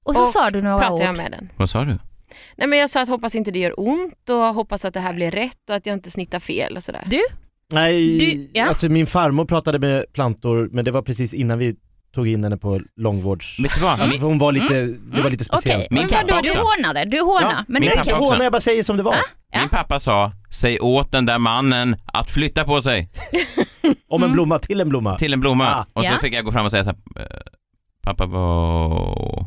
B: Och så
C: Och
B: sa du några ord.
C: Pratade jag med den.
A: Vad sa du?
C: Nej, men jag sa att hoppas inte det gör ont och hoppas att det här blir rätt och att jag inte snittar fel och sådär.
B: Du,
D: Nej,
B: Du- ja.
D: alltså min farmor pratade med plantor men det var precis innan vi tog in henne på långvårds...
A: Vet du vad?
D: Alltså för hon var lite, det var lite
B: Mm. Okej,
D: speciellt.
A: Min
B: men vadå
A: pappa
B: du
A: också.
B: hånade, du hånar.
A: Ja,
B: men
A: min
B: det är Ah.
A: pappa
B: okej.
A: också.
D: Håna, jag bara säger som det var.
A: Min pappa sa, säg åt den där mannen att flytta på sig
D: Om
B: Mm.
D: en blomma till en blomma.
A: till en blomma.
D: Ah.
A: Och så
B: Ja.
A: fick jag gå fram och säga så här, "Eh, pappa vad...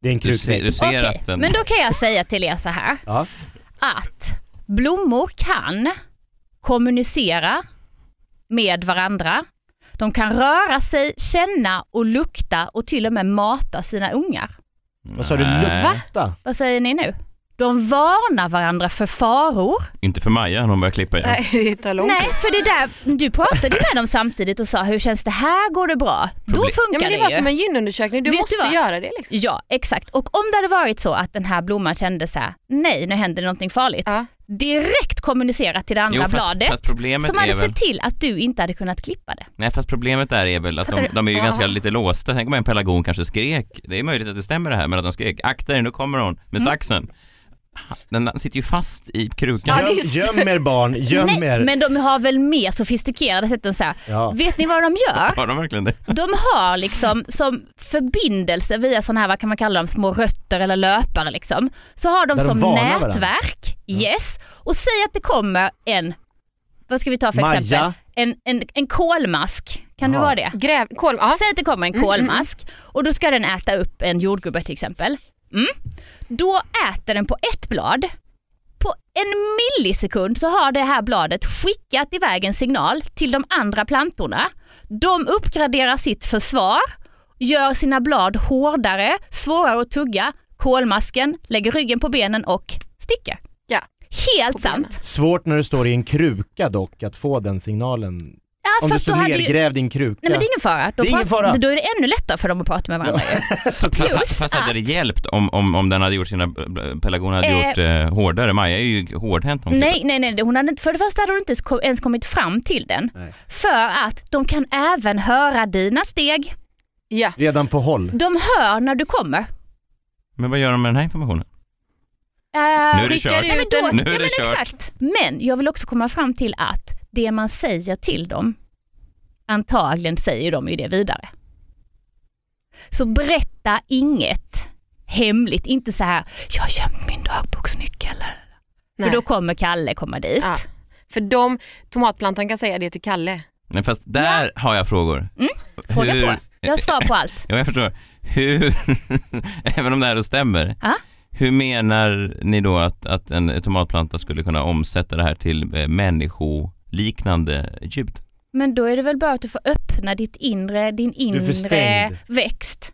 D: Det är en
A: Du ser, du
D: kruksnäck.
A: ser
B: Okej,
A: att den...
B: Men då kan jag säga till er så här
D: Ja.
B: att blommor kan kommunicera med varandra. De kan röra sig, känna och lukta och till och med mata sina ungar.
D: Vad sa du?
A: Nej,
D: Lukta?
B: Vad säger ni nu? De varnar varandra för faror.
A: Inte för Maja när hon börjar klippa igen.
C: Nej, det tar lång tid.
B: Nej, för det där, du pratade ju med dem samtidigt och sa hur känns det här, går det bra? Då
A: Problem-
B: funkar
C: Ja, men det
B: det,
C: var
B: ju.
C: som en gynundersökning, du
B: Vet du
C: måste
B: vad?
C: göra det. Liksom.
B: Ja, exakt. Och om det hade varit så att den här blomman kände så här, nej nu händer det någonting farligt.
C: Ja.
B: Direkt kommunicerat till det andra
A: Jo, fast-
B: bladet
A: fast problemet
B: som hade
A: är väl-
B: sett till att du inte hade kunnat klippa det.
A: Nej fast problemet där är väl att
B: Fattar
A: de,
B: du?
A: de är ju
B: Ja.
A: ganska lite låsta. Tänk om en pelargon kanske skrek. Det är möjligt att det stämmer det här men att de skrek. Akta er nu kommer hon
B: Mm.
A: med saxen. Den sitter ju fast i krukan.
B: Ja, det är
D: Göm,
B: så-
D: göm er barn, göm
B: Nej,
D: er.
B: men de har väl mer sofistikerade sätt än så här.
D: Ja.
B: Vet ni vad de gör?
A: Har de verkligen det?
B: De har liksom som förbindelse via sådana här, vad kan man kalla dem, små rötter eller löpare liksom. Så har de
D: Där de
B: som
D: varnar varandra.
B: nätverk, yes. Och säg att det kommer en, vad ska vi ta för
D: Maja.
B: exempel? En, en, en kolmask, kan
D: Ja.
B: det vara det?
C: Gräv, kol, ja. Mm,
B: Säg att det kommer en kolmask och då ska den äta upp en jordgubbe till exempel. Mm. Då äter den på ett blad. På en millisekund så har det här bladet skickat iväg en signal till de andra plantorna. De uppgraderar sitt försvar, gör sina blad hårdare, svårare att tugga. Kolmasken lägger ryggen på benen och sticker.
C: Ja.
B: Helt
C: På
B: sant.
D: Svårt när du står i en kruka dock att få den signalen.
B: Ja,
D: Om du
B: fast då
D: står
B: hade ju...
D: nedgrävd i en kruka.
B: Nej men det är ingen fara. Då,
D: Det är ingen
B: prat-
D: fara.
B: då är det ännu lättare för dem att prata med varandra. ju.
A: Fast,
B: Plus
A: fast hade det
B: att-
A: hjälpt om, om, om den hade gjort sina, pelargon hade
B: Eh.
A: gjort eh, hårdare? Maja är ju hårdhänt. om
B: Nej, nej, nej. Hon hade, inte- för det första hade hon inte ens kom- ens kommit fram till den. För att de kan även höra dina steg.
C: Ja.
D: Redan på håll.
B: De hör när du kommer.
A: Men vad gör de med den här informationen? Nu är det kört.
B: Nej, men då,
A: Nu är det
B: ja, men
A: kört.
B: exakt. Men jag vill också komma fram till att det man säger till dem, antagligen säger de ju det vidare. Så berätta inget hemligt, inte så här, jag har gömt min dagboksnyckel.
C: Nej.
B: För då kommer Kalle komma dit.
C: Ja. För de, tomatplantan kan säga det till Kalle.
A: Nej, fast där har jag frågor.
B: Mm. Fråga
A: Hur-
B: på. Jag har svar på allt.
A: Ja, jag förstår. Hur, även om det här då stämmer,
B: Ja.
A: hur menar ni då att, att en tomatplanta skulle kunna omsätta det här till eh, människoliknande ljud?
B: Men då är det väl bara att du får öppna ditt inre, din
D: är för
B: inre
D: stängd.
B: växt.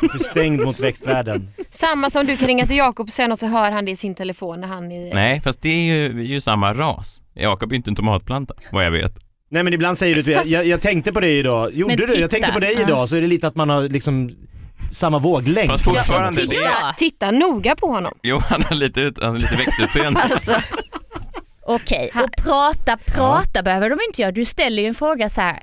D: Du är för stängd mot växtvärlden.
C: Samma som du kan ringa till Jakob sen och så hör han det i sin telefon när han är...
A: Nej, fast det är ju, ju samma ras. Jakob är ju inte en tomatplanta, vad jag vet.
D: Nej men ibland säger du att
B: Fast-
D: jag, jag tänkte på dig idag.
B: Men
D: Gjorde du? Jag
B: titta.
D: tänkte på dig
B: Ja.
D: idag så är det lite att man har liksom samma våglängd.
A: Fast
B: fortfarande,
A: fortfarande,
B: Ja, men
A: det,
B: det- Ja.
C: Titta noga på honom.
A: jo, han har lite, ut, han har lite växtutseende.
C: Alltså,
B: Okej, och prata, prata behöver de inte göra. Du ställer ju en fråga så här.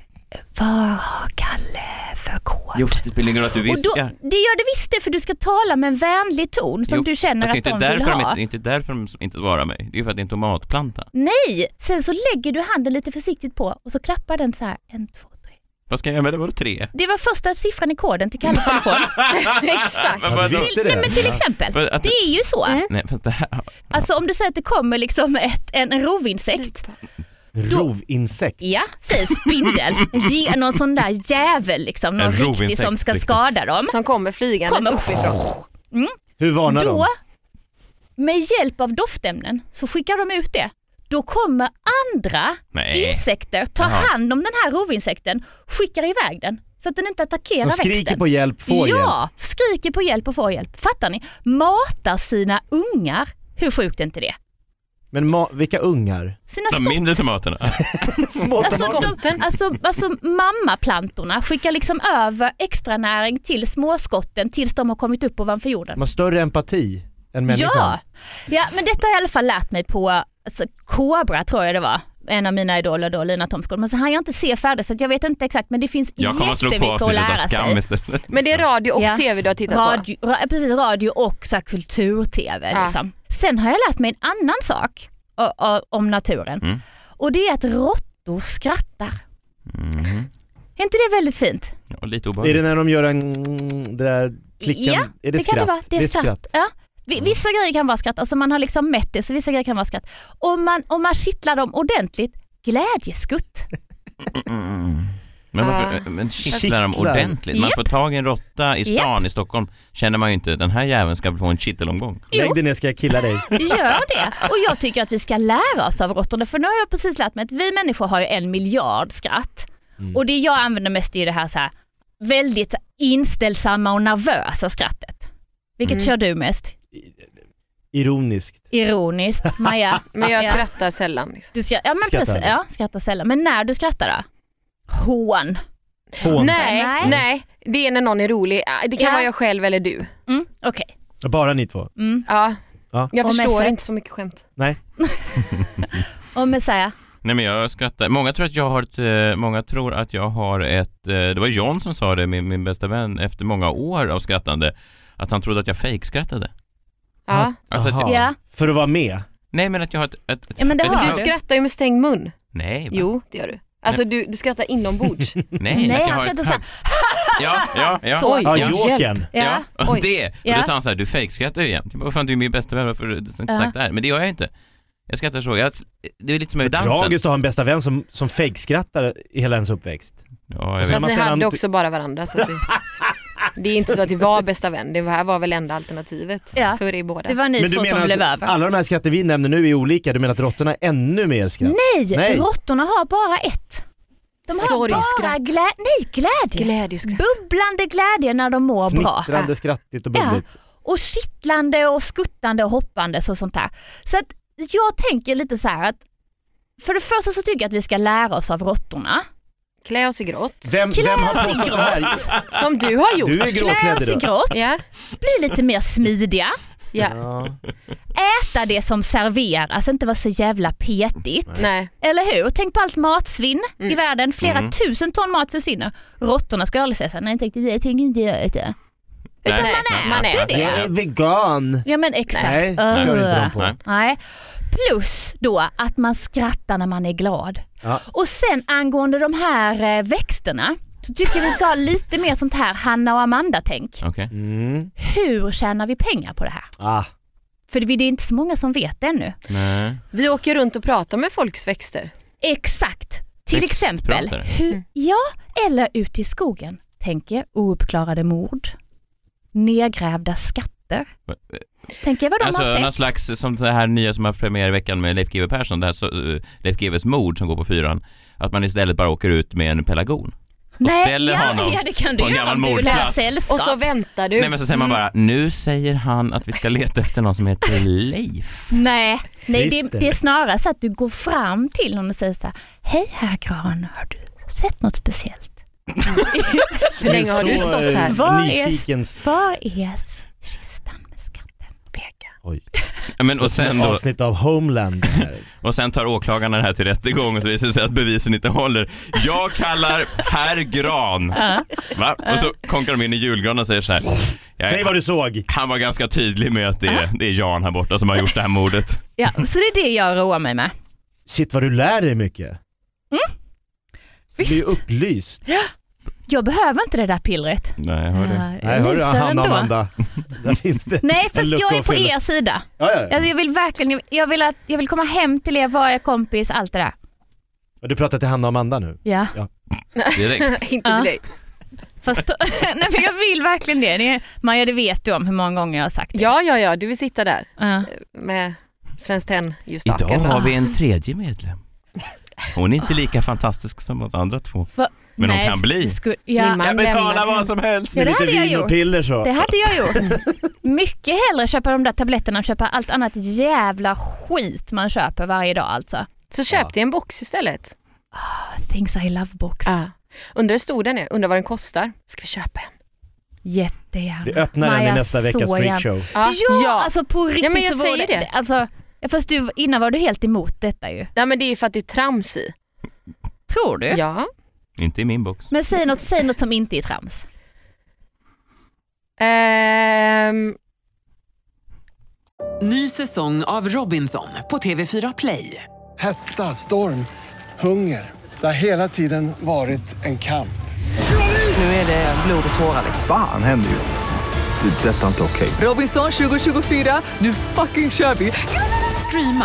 B: Vad har Kalle för kod?
A: Jo, fast det spelar ingen roll att du
B: och då,
A: viskar.
B: det gör det visst det, för du ska tala med en vänlig ton som
A: Jo,
B: du känner
A: fast
B: att
A: det är
B: de
A: inte
B: vill
A: därför
B: ha.
A: De, inte, inte därför de inte svarar mig. Det är ju för att det är en tomatplanta.
B: Nej, sen så lägger du handen lite försiktigt på och så klappar den så här. En, två, tre.
A: Vad ska jag göra med det? Vadå tre?
B: Det var första siffran i koden till Kalles telefon.
C: exakt.
A: Vad- vad-
D: visst.
B: till, nej, men till exempel,
A: För att-
B: det är ju så.
A: Nej, fast det här...
B: Alltså om du säger att det kommer liksom ett, en rovinsekt
D: Rovinsekt.
B: Ja, säg spindel. Ge någon sån där jävel liksom,
A: En
B: någon riktig
A: rovinsekt,
B: som ska
A: riktigt.
B: skada dem.
C: Som kommer flygande
B: Kommer.
C: uppifrån.
D: Hur varnar
B: Då,
D: de?
B: med hjälp av doftämnen, så skickar de ut det. Då kommer andra
A: Nej.
B: insekter ta
A: Jaha.
B: hand om den här rovinsekten, skickar iväg den så att den inte attackerar
D: De skriker
B: växten.
D: på hjälp, får
B: ja,
D: hjälp.
B: skriker på hjälp och får hjälp. Fattar ni? Matar sina ungar. Hur sjukt är inte det?
D: Men ma- vilka ungar?
B: Sina
A: De
B: skott.
A: mindre tomaterna.
D: Små
B: Alltså,
D: tomater.
B: de, alltså, alltså mammaplantorna skickar liksom över extra näring till småskotten tills de har kommit upp ovanför jorden.
D: De har större empati än människan.
B: Ja. ja, men detta har jag i alla fall lärt mig på alltså, Kobra tror jag det var. En av mina idoler då, Lina Thomsgård. Men så hann jag inte se färdigt så att jag vet inte exakt men det finns
A: Jag kommer att slå på
B: jättemycket att
A: avsnittet av
B: lära
A: Skam
B: sig.
A: istället.
C: Men det är radio och
B: Ja.
C: tv du har tittat på.
B: Radio, ra, precis, radio och så här kultur-tv.
C: Ja.
B: Liksom. Sen har jag lärt mig en annan sak o- o- om naturen
A: Mm.
B: och det är att råttor skrattar. Är inte det väldigt fint?
A: Ja, Och lite
D: Är det
A: obehagligt.
D: när de gör en... Det där klicken?
B: Ja,
D: är det,
B: Det
D: skratt?
B: kan det vara. Det är, skratt. Ja. Vi- Vissa grejer kan vara skratt, alltså man har liksom mätt det så vissa grejer kan vara skratt. Om man, om man kittlar dem ordentligt, glädjeskutt.
A: Men,
C: Ah.
A: varför, eh, men kittlar de
D: Kittlar.
A: ordentligt? Man
B: Japp.
A: får tag i en råtta i stan
B: Japp.
A: i Stockholm känner man ju inte, den här jäveln ska få en kittelomgång.
D: Lägg dig ner ska jag killa dig.
B: Gör det. Och jag tycker att vi ska lära oss av råttorna för nu har jag precis lärt mig att vi människor har ju en miljard skratt. Och det jag använder mest är ju det här, så här väldigt inställsamma och nervösa skrattet. Vilket kör du mest?
D: Ironiskt.
B: Ironiskt, Maja?
C: Men jag
B: Ja.
C: skrattar sällan. Liksom.
B: Du ska, ja, men
D: Skrattar
B: precis,
D: aldrig.
B: ja, skrattar sällan. Men när du skrattar då? Hån.
D: Hån.
C: Nej,
B: Nej.
C: nej, det är när någon är rolig. Ah, Det kan
B: Ja.
C: vara jag själv eller du.
B: Mm, Okej.
D: Bara ni två.
C: Ja.
D: Ja.
C: Jag
B: Och med
C: förstår
B: sex.
C: inte så mycket skämt.
D: Nej.
B: Och Messiah?
A: Nej men jag skrattar. Många tror att jag har ett, eh, många tror att jag har ett, eh, det var John som sa det, min, min bästa vän, efter många år av skrattande, att han trodde att jag fejkskrattade.
C: Ja.
A: Alltså att,
D: Aha.
A: jag-
B: Ja.
D: För att vara med.
A: nej men att jag har ett... ett, ett
B: Ja, men det
A: ett-
B: har
C: Du skrattar ju med stängd mun.
A: Nej, va?
C: Jo, det gör du. Alltså du, du skrattar inombords.
A: nej,
B: Nej,
A: att jag
B: han
A: har
B: skrattar
A: ett-
B: så här.
A: Ja, ja, ja.
C: Så,
D: Ja,
C: Ja,
D: jokern.
A: Ja,
B: Ja.
A: och det. Och
B: Ja.
A: då sa han så här, du fejkskrattar ju jämt. Jag bara, Vad fan du är min bästa vän, varför har du inte
B: Ja.
A: sagt det här? Men det gör jag inte. Jag skrattar så. Jag, det är lite som i dansen.
D: Tragiskt att ha en bästa vän som, som fejkskrattar i hela ens uppväxt.
A: Ja, jag
D: Så-
A: vet.
C: Fast
D: man
C: ni
D: ställa
C: hade
D: en-
C: också bara varandra. Så att det, det är inte så att det var bästa vän. Det här var väl enda alternativet
B: Ja.
C: för er båda.
B: Det var ni två som blev
D: att Ah.
B: över.
D: alla de här skratten vi nämner nu är olika? Du menar att råttorna är ännu mer skratt?
B: Nej,
D: Nej.
B: råttorna har bara ett. De har bara
C: Sorgskratt.
B: glä... Nej, glädje.
C: Glädjeskratt.
B: Bubblande glädje när de mår bra.
D: Fnittrande, skrattigt och
B: Ja.
D: bubbligt.
B: Och kittlande och skuttande och hoppandes och sånt där. Så att jag tänker lite så här att för det första så tycker jag att vi ska lära oss av råttorna.
C: Klä oss i grått.
D: Vem,
B: Klä
D: vem har
B: oss i
D: påstått det här?
C: Som du har gjort.
D: Du är
B: Klä oss
D: gråklädd
B: i
D: idag.
B: grått,
C: Ja,
B: bli lite mer smidiga,
C: ja.
B: äta det som serveras, inte vara så jävla petigt.
C: Nej.
B: Eller hur? Tänk på allt matsvinn
D: Mm.
B: i världen. Flera tusen ton mat försvinner. Råttorna skulle aldrig säga så här, nej tack, det tänker inte jag äta.
A: Nej.
B: man
A: Nej.
B: äter
A: Nej.
B: det.
D: Jag är vegan.
B: Ja men exakt. Öh.
D: Nej, det kör inte de på.
A: Nej.
B: Nej. Plus då att man skrattar när man är glad.
D: Ja.
B: Och sen angående de här eh, växterna så tycker jag vi ska ha lite mer sånt här Hanna och Amanda-tänk.
A: Okej.
D: Mm.
B: Hur tjänar vi pengar på det här?
D: Ah.
B: För det är inte så många som vet det ännu.
A: Nej.
C: Vi åker runt och pratar med folks växter.
B: Exakt. Till
A: Växtpratare.
B: exempel,
C: Mm.
B: hur, ja, eller ute i skogen. Tänk er ouppklarade mord, nedgrävda skatter.
A: Va- eh,
B: Tänk er vad de
A: Alltså
B: har
A: någon
B: sett.
A: slags, som det här nya som har premiär i veckan med Leif GW Persson, det här så, eh, Leif GWs mord som går på fyran, att man istället bara åker ut med en pelargon. ställer
B: ja,
A: honom
B: ja, det kan
A: på
B: du
A: en
B: göra
A: gammal
B: om du lär
A: mordplats.
B: sällskap.
C: Och så väntar du. Mm.
A: Nej men så säger man bara,
B: Mm.
A: nu säger han att vi ska leta efter någon som heter Leif.
B: Nej, nej det,
D: Christer.
B: det är snarare så att du går fram till honom och säger så här, hej herr Gran, har du sett något speciellt?
C: Hur länge har
D: Så,
C: du stått
D: eh,
C: här?
B: Vad är-
D: Nyfiken.
B: Var är kistan med skatten? Peka.
D: Oj.
A: Ja, Men, och, sen då,
D: Avsnitt av Homeland.
A: och sen tar åklagarna det här till rättegång och så visar det sig att bevisen inte håller. Jag kallar herr Gran. Va? Och så konkar de in i julgranen och säger så här. "Jag-
D: Säg vad du såg.
A: Han var ganska tydlig med att det är, det är Jan här borta som har gjort det här mordet.
B: Ja, så det är det jag roar mig med. Mm.
D: Shit vad du lär dig mycket. Du blir ju
B: Visst,
D: upplyst.
B: jag behöver inte det där pillret.
A: Nej, jag hör det.
B: Ja,
D: Nej, hör du
B: lyser
D: Hanna och
B: ändå.
D: Amanda. Där finns det
B: Nej,
D: en
B: fast
D: lucka
B: jag är
D: att
B: på
D: fylla.
B: er sida.
D: Ja, ja, ja.
B: Alltså, jag vill verkligen, jag vill, att, jag vill komma hem till er, vara er kompis, allt det där.
D: Och Du pratar till Hanna och Amanda nu.
B: Ja.
A: Direkt.
C: Inte
B: Ja.
C: till dig.
B: Fast, nej, men jag vill verkligen det. Ni- Maja, det vet du om hur många gånger jag har sagt det.
C: Ja, ja, ja, du vill sitta där
B: Ja.
C: med Svenskt Tenn-ljusstaken.
A: Idag har vi en tredje medlem. Hon är inte lika fantastisk som oss andra två.
B: Va?
A: Men hon
B: Nej,
A: kan bli.
B: det skulle- ja.
C: Min man lämnar.
A: som helst.
B: Ja, det
D: Lite
B: hade jag
D: vin och
B: gjort.
D: piller så.
B: Det hade jag gjort. Mycket hellre köpa de där tabletterna än köpa allt annat jävla skit man köper varje dag alltså.
C: Så köp dig en box istället.
B: Things I love box.
C: Ja. Undrar hur stor den är, undrar vad den kostar. Ska vi köpa en?
B: Jättegärna.
D: Vi öppnar den i
B: Maja,
D: nästa veckas
B: så gärna.
D: freakshow.
C: Ja,
B: Ja, alltså på riktigt
C: men jag
B: så vore
C: säger det.
B: Alltså, fast du, innan var du helt emot detta ju.
C: Nej, men det är ju för att det är trams i.
B: Tror du?
C: Ja.
A: Inte i min box.
B: Men säg något, säg något som inte är trams.
C: Ehm,
E: Ny säsong av Robinson på TV4 Play.
F: Hetta, storm, hunger. Det har hela tiden varit en kamp.
E: Nu är det blod och tårar. Liksom.
G: Fan händer just nu. Det. är Detta är inte okej.
E: Robinson 2024, nu fucking kör vi! Streama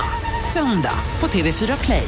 E: söndag på TV4 Play.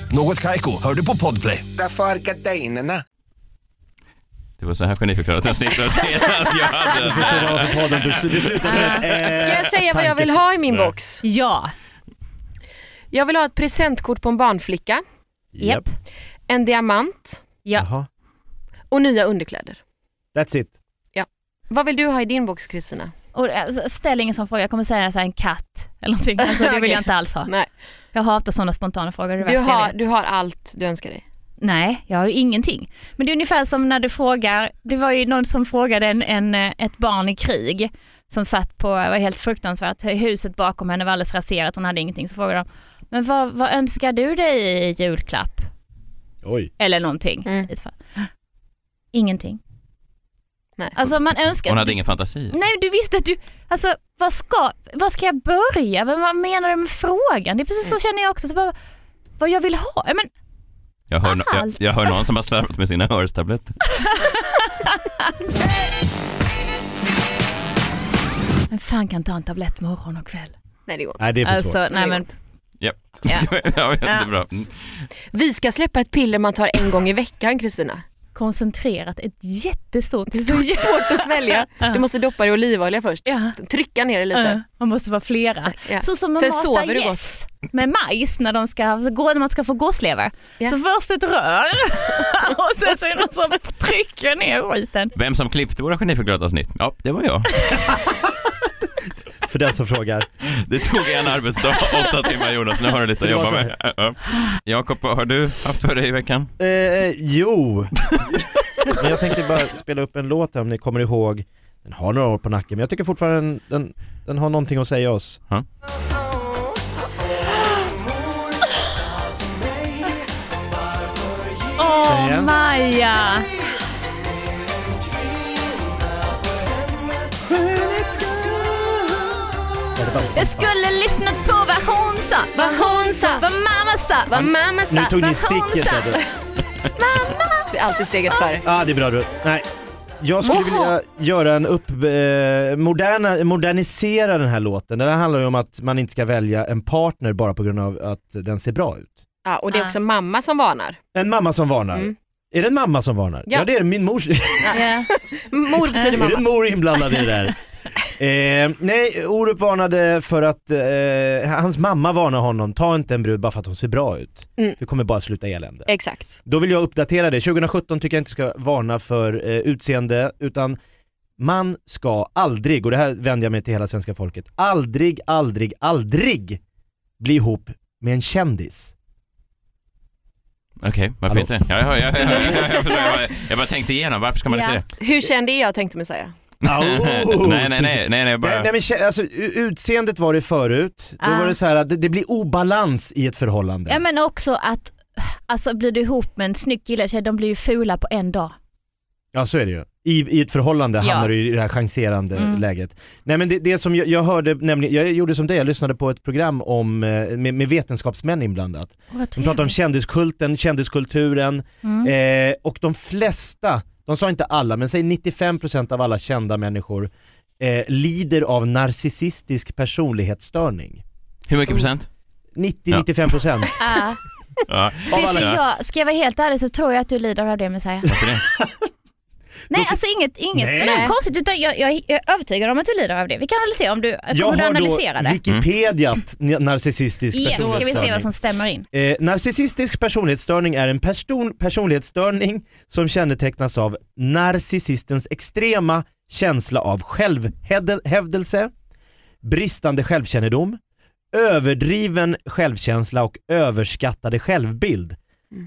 H: Något Kaiko, hör du på Podplay.
I: Därför är gardinerna.
A: Det var så här geniförklarat jag snittade senast jag hade.
D: Förstår varför podden tog slut. Det slutade med ett, eh,
C: Ska jag säga vad jag vill ha i min box?
B: Ja.
C: Jag vill ha ett presentkort på en barnflicka,
B: Japp.
C: en diamant
B: Ja.
D: Jaha.
C: och nya underkläder.
D: That's it.
C: Vad vill du ha i din box Kristina?
B: Och, alltså, ställ ingen sån fråga, jag kommer säga så här, en katt eller någonting. Alltså, det vill
C: Okej.
B: jag inte alls ha.
C: Nej.
B: Jag hatar sådana spontana frågor. Det är det
C: Du
B: värsta jag
C: har,
B: vet.
C: du har allt du önskar dig.
B: Nej, jag har ju ingenting. Men det är ungefär som när du frågar, det var ju någon som frågade en, en, eh, ett barn i krig som satt på, det var helt fruktansvärt, huset bakom henne var alldeles raserat, hon hade ingenting. Så frågade de, men vad, vad önskar du dig i julklapp?
D: Oj.
B: Eller någonting.
C: Mm.
B: I ett fall. Ingenting.
C: Nej.
B: Alltså man
A: Hon
B: önskar,
A: hade ingen fantasi.
B: nej du visste att du, alltså vad ska, vad ska jag börja? Vad, vad menar du med frågan? Det är
C: Mm.
B: precis så känner jag också. Så bara, vad jag vill ha? Ja, men,
A: Jag hör, no- jag,
B: Allt.
A: jag hör någon som har slarvat med sina hörstabletter.
B: men fan kan ta en tablett morgon och kväll?
C: Nej det går inte.
D: Nej det är för svårt.
B: Alltså, nej, men,
A: Japp.
B: Ja.
A: Ja, jättebra.
C: Vi ska släppa ett piller man tar en gång i veckan Kristina.
B: koncentrerat, ett jättestort...
C: Det är så svårt att svälja. Du måste doppa det i olivolja först.
B: Ja.
C: Trycka ner det
B: Ja,
C: lite.
B: man måste vara flera. Så,
C: ja.
B: som man
C: Sen
B: matar
C: sover du
B: gäss med majs när, de ska, gå- när man ska få gåslever.
C: Ja.
B: Så först ett rör och sen så är det någon som trycker ner skiten.
A: Vem som klippte våra geniförklarade avsnitt? Ja, det var jag.
D: För den som frågar.
A: Det tog en arbetsdag, åtta timmar Jonas. Nu har du lite att
D: Det var
A: jobba
D: så
A: med. Ja, ja. Jakob, vad har du haft för dig i veckan?
D: Eh, jo. men jag tänkte bara spela upp en låt här om ni kommer ihåg. Den har några år på nacken men jag tycker fortfarande den, den, den har någonting att säga oss.
A: Ja.
B: Åh,
D: igen.
B: Maja! Jag skulle lyssnat på vad hon sa, vad hon sa, vad mamma sa, vad mamma sa,
D: Nu tog ni
B: vad hon
D: sticket
B: sa.
D: där du.
C: Det är alltid steget före.
D: Ja ah, det är bra du. Nej. Jag skulle vilja göra en upp, eh, moderna, modernisera den här låten. Den här handlar ju om att man inte ska välja en partner bara på grund av att den ser bra ut.
C: Ja, och det är också mamma som varnar.
D: En mamma som varnar.
C: Mm.
D: Är det en mamma som varnar?
C: Ja.
D: ja det är det. min mors.
B: Ja.
C: Mor betyder
D: Är det
C: mamma.
D: mor inblandad i det där? Eh, nej, Orup varnade för att eh, hans mamma varnar honom, ta inte en brud bara för att hon ser bra ut.
C: Mm.
D: Det kommer bara sluta elände.
C: Exakt.
D: Då vill jag uppdatera det. 2017 tycker jag inte ska varna för eh, utseende utan man ska aldrig, och det här vänder jag mig till hela svenska folket, aldrig, aldrig, aldrig bli ihop med en kändis.
A: Okej, varför
D: Hallå.
A: inte? Ja, ja, ja, ja, ja, jag, förstår. jag, bara, jag bara tänkte igenom, varför ska man
B: Ja.
A: inte det?
C: Hur känd är jag tänkte man säga.
D: Au!
A: nej, nej, nej, nej, nej, bara...
D: Oh, Nej, nej men kä- alltså, u- utseendet var det förut, då
B: Ah.
D: var det så här att det, det blir obalans i ett förhållande.
B: ja men också att, alltså blir du ihop med en snygg kille, tjej, de blir ju fula på en dag.
D: Ja så är det ju. I, i ett förhållande
B: Ja.
D: hamnar du i det här chanserande
B: Mm.
D: läget. Nej men det, det som jag, jag hörde, nämligen, jag gjorde som dig, jag lyssnade på ett program om, eh, med, med vetenskapsmän inblandat. De pratade om kändiskulten, kändiskulturen
B: Mm.
D: eh, och de flesta, de sa inte alla, men säg 95% av alla kända människor eh, lider av narcissistisk personlighetsstörning.
A: Hur mycket procent?
D: 90-95%
B: Ah.
A: Ja.
B: Vet du, jag, ska jag vara helt ärlig så tror jag att du lider av det Messiah.
A: Varför det?
B: Nej alltså inget, inget
D: Nej.
B: sådär konstigt utan jag, jag, jag är övertygad om att du lider av det. Vi kan väl se om du
D: Jag
B: kommer du
D: har då
B: analysera det.
D: Wikipediat mm. narcissistisk
B: Mm. Yes, ska vi se
D: personlighetsstörning.
B: vad som stämmer in.
D: Eh, narcissistisk personlighetsstörning är en person, personlighetsstörning som kännetecknas av narcissistens extrema känsla av självhävdelse, bristande självkännedom, överdriven självkänsla och
B: Mm.
D: överskattade självbild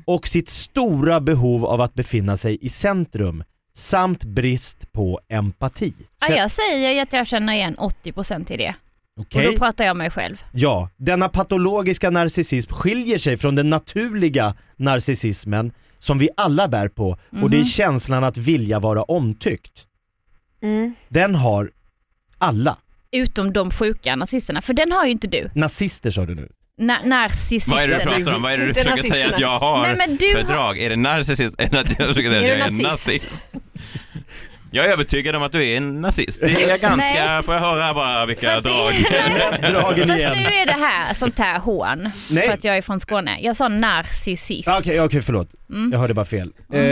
D: och sitt stora behov av att befinna sig i centrum samt brist på empati.
B: Ah, Ja, jag säger ju att jag känner igen 80% i det.
D: Okej?
B: Och då pratar jag om mig själv.
D: Ja, denna patologiska narcissism skiljer sig från den naturliga narcissismen som vi alla bär på och
B: Mhm.
D: det är känslan att vilja vara omtyckt.
C: Mm.
D: Den har alla.
B: Utom de sjuka nazisterna, för den har ju inte du.
D: Nazister sa du nu.
B: Na narcissisten.
A: Vad är det du pratar om? Vad är det du
C: Inte
A: försöker säga att
C: nazisterna.
A: jag har
B: Nej, men du
A: för
B: har-
A: drag? Är det narcissist? Är det att jag försöker säga att
C: Är
A: jag
C: du
A: är
C: nazist?
A: nazist? Jag är övertygad om att du är en nazist. Det är jag ganska,
B: Nej.
A: får jag höra bara vilka drag?
D: Dragen
B: Fast
D: igen.
B: nu är det här sånt här hån
D: Nej.
B: för att jag är från Skåne. Jag sa narcissist.
D: Ja, Okej, okej, förlåt.
B: Mm.
D: Jag hörde bara fel. Eh,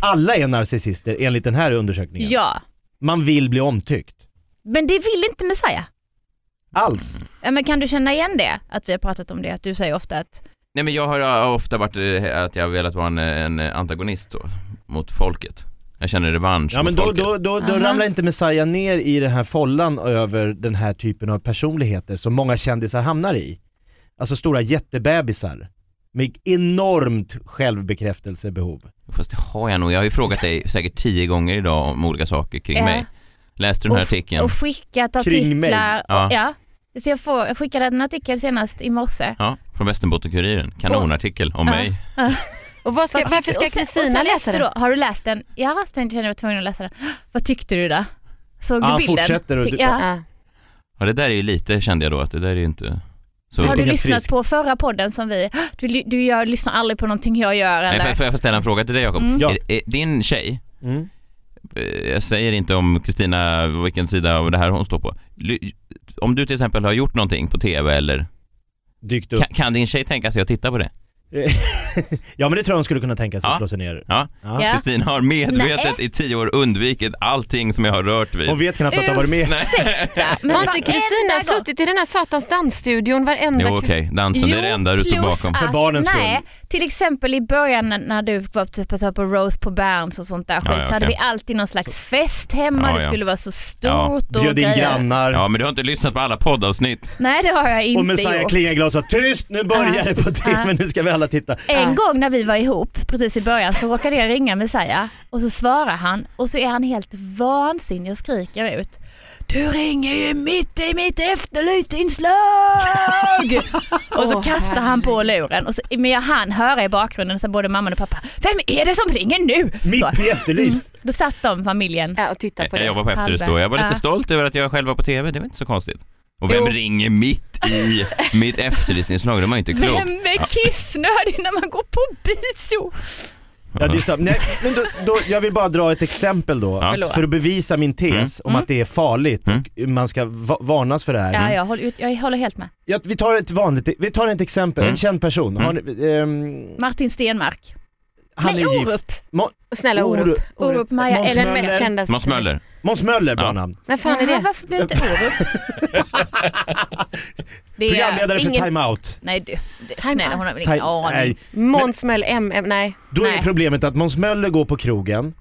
D: alla är narcissister enligt den här undersökningen.
B: Ja,
D: Man vill bli omtyckt.
B: men det vill inte Messiah.
D: Alls.
B: Ja, men kan du känna igen det? Att vi har pratat om det, att du säger ofta att
A: Nej men jag har eh, ofta varit eh, att jag har velat vara en, eh, en antagonist då, mot folket. Jag känner revansch
D: Ja men
A: mot
D: då,
A: folket.
D: då, då, då
B: Aha.
D: ramlar inte Messiah ner i den här follan över den här typen av personligheter som många kändisar hamnar i. Alltså stora jättebebisar med enormt självbekräftelsebehov.
A: Fast det har jag nog. Jag har ju frågat dig säkert tio gånger idag om olika saker kring
B: Ja.
A: mig. Läste du den här
B: och,
A: artikeln?
B: och skickat
D: Kring mig.
B: artiklar.
A: Ja.
B: Och, ja. Så jag, får, jag skickade en artikel senast i morse.
A: Ja, från Västerbottenkuriren. Kanonartikel om
B: Ja.
A: mig.
C: Och vad ska,
B: Vad tyckte-
C: varför ska
B: och sen- och
C: Kristina
B: sen
C: läsa
B: efter
C: den?
B: Då, har du läst den? Ja, sen kände jag mig tvungen att läsa den. Vad tyckte du då? Såg
D: Ja,
B: du bilden?
D: fortsätter och
B: Ty-
D: du-
B: ja.
C: Ja.
A: Ja det där är ju lite, kände jag då, att det där är ju inte så...
B: Har du
D: Helt
B: lyssnat
D: friskt.
B: på förra podden som vi... Du, ly- du gör, lyssnar aldrig på någonting jag gör
A: Nej,
B: eller?
A: får, jag- får jag ställa en fråga till dig Jakob?
B: Mm.
D: Ja.
A: Är, är din tjej,
D: Mm.
A: eh, jag säger inte om Kristina, vilken sida av det här hon står på. Ly- Om du till exempel har gjort någonting på TV eller,
D: Dykt upp.
A: kan, kan din tjej tänka sig att titta på det?
D: Ja men det tror jag hon skulle kunna tänka sig att
A: Ja.
D: slå sig ner.
A: Ja.
D: Ja.
B: Ja.
A: Kristina har medvetet i tio år undvikit allting som jag har rört vid.
D: Hon vet knappt att hon har varit med.
B: Ursäkta, men
C: Har inte Kristina
B: varenda gång-
C: suttit i den här satans dansstudion varenda
A: Jo
C: kväll?
A: okej, dansen det är det
B: Jo,
A: enda du står
B: plus
A: bakom.
B: att-
D: För barnens skull.
B: Nej, till exempel i början när- när du var typ på- på Rose på Berns och sånt där skit
A: Ja, ja,
B: så hade vi
A: okej.
B: alltid någon slags fest hemma,
A: Ja,
B: det
A: ja.
B: skulle vara så stort
A: Ja.
B: och
D: Bjöd in
B: grejer.
D: grannar
A: Ja men du har inte lyssnat på alla poddavsnitt.
B: Nej det har jag inte
D: och Messiah
B: gjort.
D: klingade och sa tyst nu börjar det på tv, nu ska vi alla titta.
B: En gång när vi var ihop precis i början så råkade jag ringa Messiah och så svarar han och så är han helt vansinnig och skriker ut Du ringer ju mitt i mitt efterlysinslag! och så
C: Åh,
B: kastar han på luren och så, men jag hann höra i bakgrunden så både mamman och pappa Vem är det som ringer nu? Så, Mm.
D: Mitt i Efterlyst.
B: då satt de familjen.
C: Ja, och titta på
A: Jag
C: det.
A: jobbar på Efterlyst då. Jag var lite
B: Ja.
A: stolt över att jag själv var på TV, det var inte så konstigt. Och vem
C: Jo.
A: ringer mitt i mitt efterlysningslag? Det var ju inte klokt.
B: Vem är kissnödig när man går på bio?
D: Ja, det är sant. Nej, men då, då, jag vill bara dra ett exempel då,
B: Förlåt.
D: för att bevisa min tes om att det är farligt och man ska va- varnas för det här. Mm.
B: Ja, jag, håller, ut- jag håller helt med.
D: Ja, vi tar ett vanligt, vi tar ett exempel, en känd person. Har ni, ehm,
B: Martin Stenmark.
D: han
B: Nej,
D: är gift.
B: Orup.
D: Mo-
C: Snälla Orup.
D: Orup.
B: Orup Maja
D: Måns
B: eller
C: Den mest
D: Möller.
C: kända.
A: Måns Möller.
D: Måns Möller, bra
A: Ja.
D: namn.
C: Vem fan är
B: Jaha,
C: det?
B: Varför blev det inte Orup? det är
D: Programledare för
B: ingen-
D: Time Out.
B: Nej du, det-
C: Time
B: snälla hon har väl ingen
D: Time-
B: aning.
D: nej.
C: Måns Möller, MM, nej.
D: Då
B: Nej.
D: är problemet att Måns Möller går på krogen,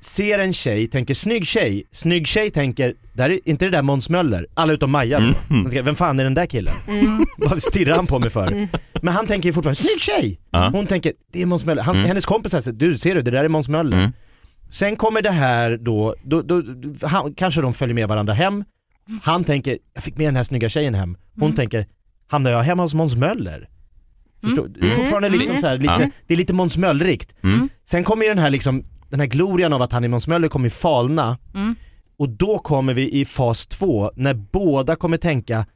D: ser en tjej, tänker snygg tjej, snygg tjej tänker, där är, inte det där Måns Möller? Alla utom Maja då.
A: Mm.
D: Hon tänker, Vem fan är den där killen? Vad stirrar han på mig för? Men han tänker ju fortfarande, snygg tjej!
A: Ja.
D: Hon tänker, det är Måns Möller. Han, Hennes kompisar säger, du ser du, det där är Måns Möller.
A: Mm.
D: Sen kommer det här då, då, då, då han, kanske de följer med varandra hem. Han tänker, jag fick med den här snygga tjejen hem. Hon
A: Mm.
D: tänker, hamnar jag hemma hos Måns Möller? Förstår, Det är fortfarande liksom så här, lite,
A: Mm. Ja.
D: det är lite Måns Möllrigt.
A: Mm.
D: Sen kommer ju den här liksom, den här glorian av att han är Måns Möller kommer ju falna.
A: Mm.
D: Och då kommer vi i fas två när båda kommer tänka,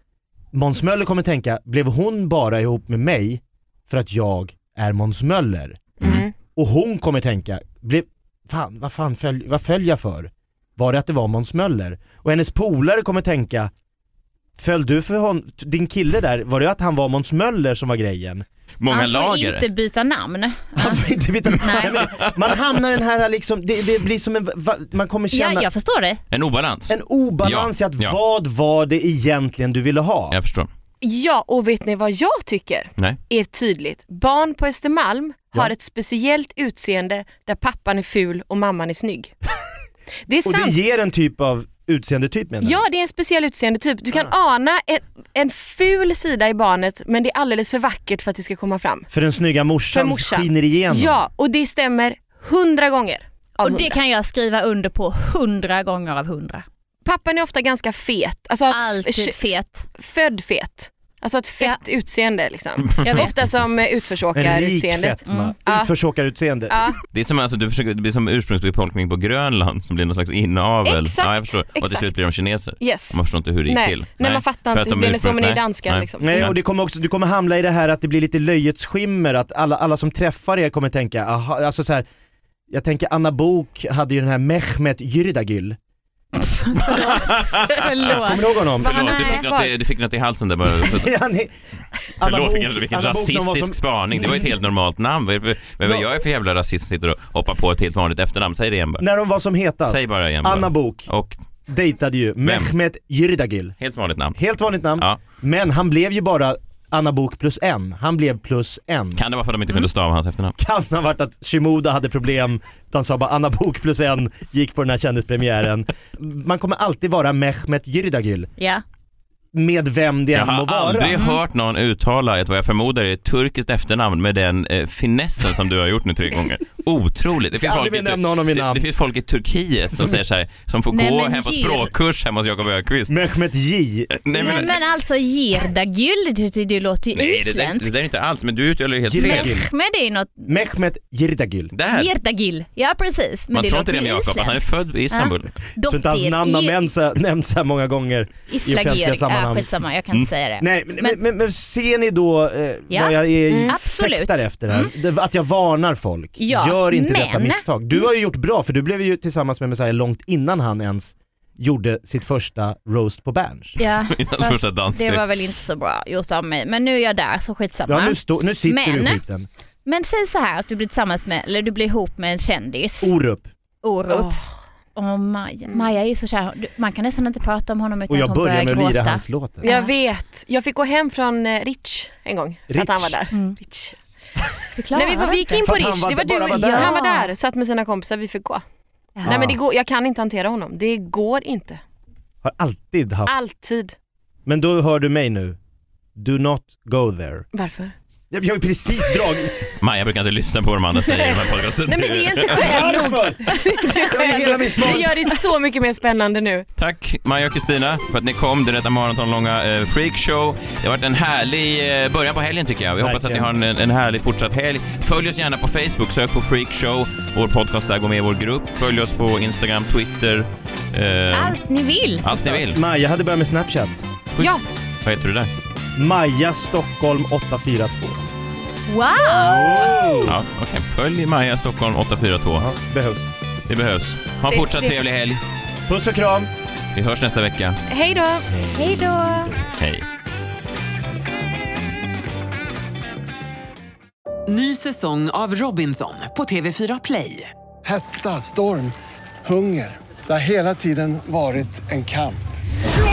D: Måns Möller kommer tänka, blev hon bara ihop med mig för att jag är Måns Möller?
C: Mm.
D: Och hon kommer tänka, blev, fan, vad fan följ, vad följer jag för? Var det att det var Måns Möller? Och hennes polare kommer tänka, föll du för hon, din kille där, var det att han var Måns Möller som var grejen?
A: Många
B: Han får
A: lager.
B: Alltså, inte byta namn.
D: Han får inte veta- Nej, men Man hamnar i den här liksom, det, det blir som en, va, man kommer känna
B: Ja, jag förstår det.
A: En obalans.
D: en obalans
A: Ja,
D: i att
A: ja.
D: vad var det egentligen du ville ha?
A: Jag förstår.
C: Ja, och vet ni vad jag tycker
A: Nej.
C: är tydligt? Barn på Östermalm har ett speciellt utseende där pappan är ful och mamman är snygg. Det är
D: Och
C: sant.
D: det ger en typ av utseendetyp menar du?
C: Ja, det är en speciell utseendetyp. Du kan ana en, en ful sida i barnet men det är alldeles för vackert för att det ska komma fram.
D: För den snygga
C: För
D: morsan
C: morsan.
D: skiner igenom.
C: Ja, och det stämmer hundra gånger. av
B: Och det
C: 100.
B: kan jag skriva under på hundra gånger av hundra.
C: Pappan är ofta ganska fet. Alltså att
B: Alltid fet.
C: Född fet. Alltså ett fett utseende liksom.
B: Jag vet.
C: Ofta som eh,
D: En rik
C: utförsåkarutseendet.
D: fetma.
C: Ja.
D: Utförsåkarutseende.
C: Ja,
A: Det är som, alltså, du försöker, det blir som ursprungsbefolkningen på Grönland som blir någon slags inavel.
C: Exakt,
A: ja, jag förstår. Och till
C: exakt.
A: slut blir de kineser.
C: yes.
A: Man förstår inte hur det gick
C: Nej,
A: till.
C: nej, man fattar
A: för
C: inte.
A: att
C: Det
A: de
C: blir
A: ursprung-
C: som en
A: nej,
C: danskar
A: nej.
C: liksom.
D: Nej, och det kommer också, du kommer hamna i det här att det blir lite löjets skimmer, att alla, alla som träffar er kommer tänka, aha, alltså så här, jag tänker Anna Bok hade ju den här Mehmet Yridagül. Kommer
B: Förlåt.
D: du ihåg honom?
B: Va?
A: Förlåt, du fick,
B: Nej.
A: något, i- du fick något i halsen där bara. Förlåt,
D: Ja, ni- Anna Bok-
A: vilken, vilken
D: Anna Bok, någon var
A: rasistisk
D: som-
A: spaning. Det var ett helt normalt namn. Vad är det för- Men vad
D: Ja.
A: jag är för jävla rasist som sitter och hoppar på ett helt vanligt efternamn? Säg det igen bara.
D: När de var som hetast,
A: Säg bara igen bara.
D: Anna Bok
A: Och
D: dejtade ju Mehmet Yridagül.
A: helt vanligt namn.
D: Helt vanligt namn,
A: Ja.
D: men han blev ju bara Anna Bok plus en. Han blev plus en.
A: Kan det vara för att de inte kunde stava hans efternamn?
D: kan ha varit att Shimoda hade problem, utan sa bara Anna Bok plus en gick på den här kändispremiären. Man kommer alltid vara Mehmet Yridagül,
B: Ja.
D: med vem det
A: Jag
D: än må
A: har
D: vara. Mm.
A: aldrig hört någon uttala ett vad jag förmodar är ett turkiskt efternamn med den eh, finessen som du har gjort nu tre gånger. Otroligt. Det
D: Ska aldrig mer
A: Tur-
D: nämna honom i
A: det,
D: namn.
A: det finns folk i Turkiet som säger så här, som får
B: Nej,
A: gå
B: men
A: hem på
B: djur.
A: språkkurs hemma hos Jakob Ökvist.
D: Mehmet J.
A: Nej,
B: Nej men alltså Jirdagül, det, det, det låter ju
A: nej det, där, det
B: isländskt.
A: där är inte alls, men du uttalar ju helt fel.
D: Jiragil.
B: Men det är något,
D: Mehmet Yridagül.
A: Där.
B: Jirdagil, ja precis. Men
A: Man
B: det
A: tror inte
B: låter
A: det
B: ju
A: med Jakob, han är
B: isländskt.
A: född i Istanbul.
D: Så inte hans namn
B: E-
D: har nämnts så- nämnts så här många gånger i offentliga
B: Islagir, ja,
D: sammanhang.
B: skitsamma jag kan
A: Mm.
B: inte säga det.
D: Nej, men, men, men, ser ni då eh,
B: Ja. Mm.
D: vad jag är
B: Absolut. Mm.
D: fäktar efter här? Det- Att jag varnar folk.
B: Ja,
D: Gör inte detta
B: men-
D: misstag. Du har ju gjort bra för du blev ju tillsammans med Messiah långt innan han ens gjorde sitt första roast på Berns.
B: Ja, fast
A: första danssteg.
B: det var väl inte så bra gjort av mig. Men nu är jag där så skitsamma.
D: Ja, nu, stå, nu sitter
B: Men-
D: du i skiten.
B: Men säg så här att du blir tillsammans med, eller du blir ihop med en kändis,
D: Orup.
B: Orup.
D: Oh.
B: Och Maja. Maja är ju så kär, du- man kan nästan inte prata om honom utan
D: Mm. Och jag
B: att hon
D: börjar
B: börjar
D: med att lira
B: gråta.
D: hans låt.
C: Jag vet. Jag fick gå hem från eh, Rich en gång. För
D: Rich?
C: att han var där. Rich.
B: Du klarar
C: Nej, vi, var, vi gick in på
D: För att han
C: Rich.
D: var-
C: Det var du
D: bara var
C: och
D: där.
C: jag. Han var där, satt med sina kompisar. Vi fick gå. Nej men det går, jag kan inte hantera honom. Det går inte.
D: Har alltid haft.
C: Alltid.
D: Men då hör du mig nu. Do not go there.
C: Varför?
D: Jag jag har ju precis dragit...
A: Maja brukar inte lyssna på vad de andra säger i den här podcasten.
C: Nej men det är inte skäl nog.
D: Varför?
C: Det är
D: Jag är
C: skäl
D: hela
C: nog.
D: min smak.
C: Det gör det så mycket mer spännande nu.
A: Tack Maja och Kristina för att ni kom till detta maratonlånga eh, freakshow. Det har varit en härlig eh, början på helgen tycker jag. Vi hoppas att ni har en, en härlig fortsatt helg. Följ oss gärna på Facebook, sök på freakshow. Vår podcast där, gå med i vår grupp. Följ oss på Instagram, Twitter. Eh,
B: Allt ni vill
A: allt ni
B: förstås.
A: vill.
D: Maja hade börjat med Snapchat.
C: Ja.
A: Vad heter du där?
D: Maja Stockholm 842.
B: Wow!
A: Ja, okej. Följ Maja Stockholm 842.
D: Behövs.
A: Det behövs. Ha en fortsatt
C: Det-
A: trevlig helg.
D: Puss och kram.
A: Vi hörs nästa vecka.
C: Hej då.
B: Hej då!
A: Hej.
E: Ny säsong av Robinson på TV4 Play.
F: Hetta, storm, hunger. Det har hela tiden varit en kamp.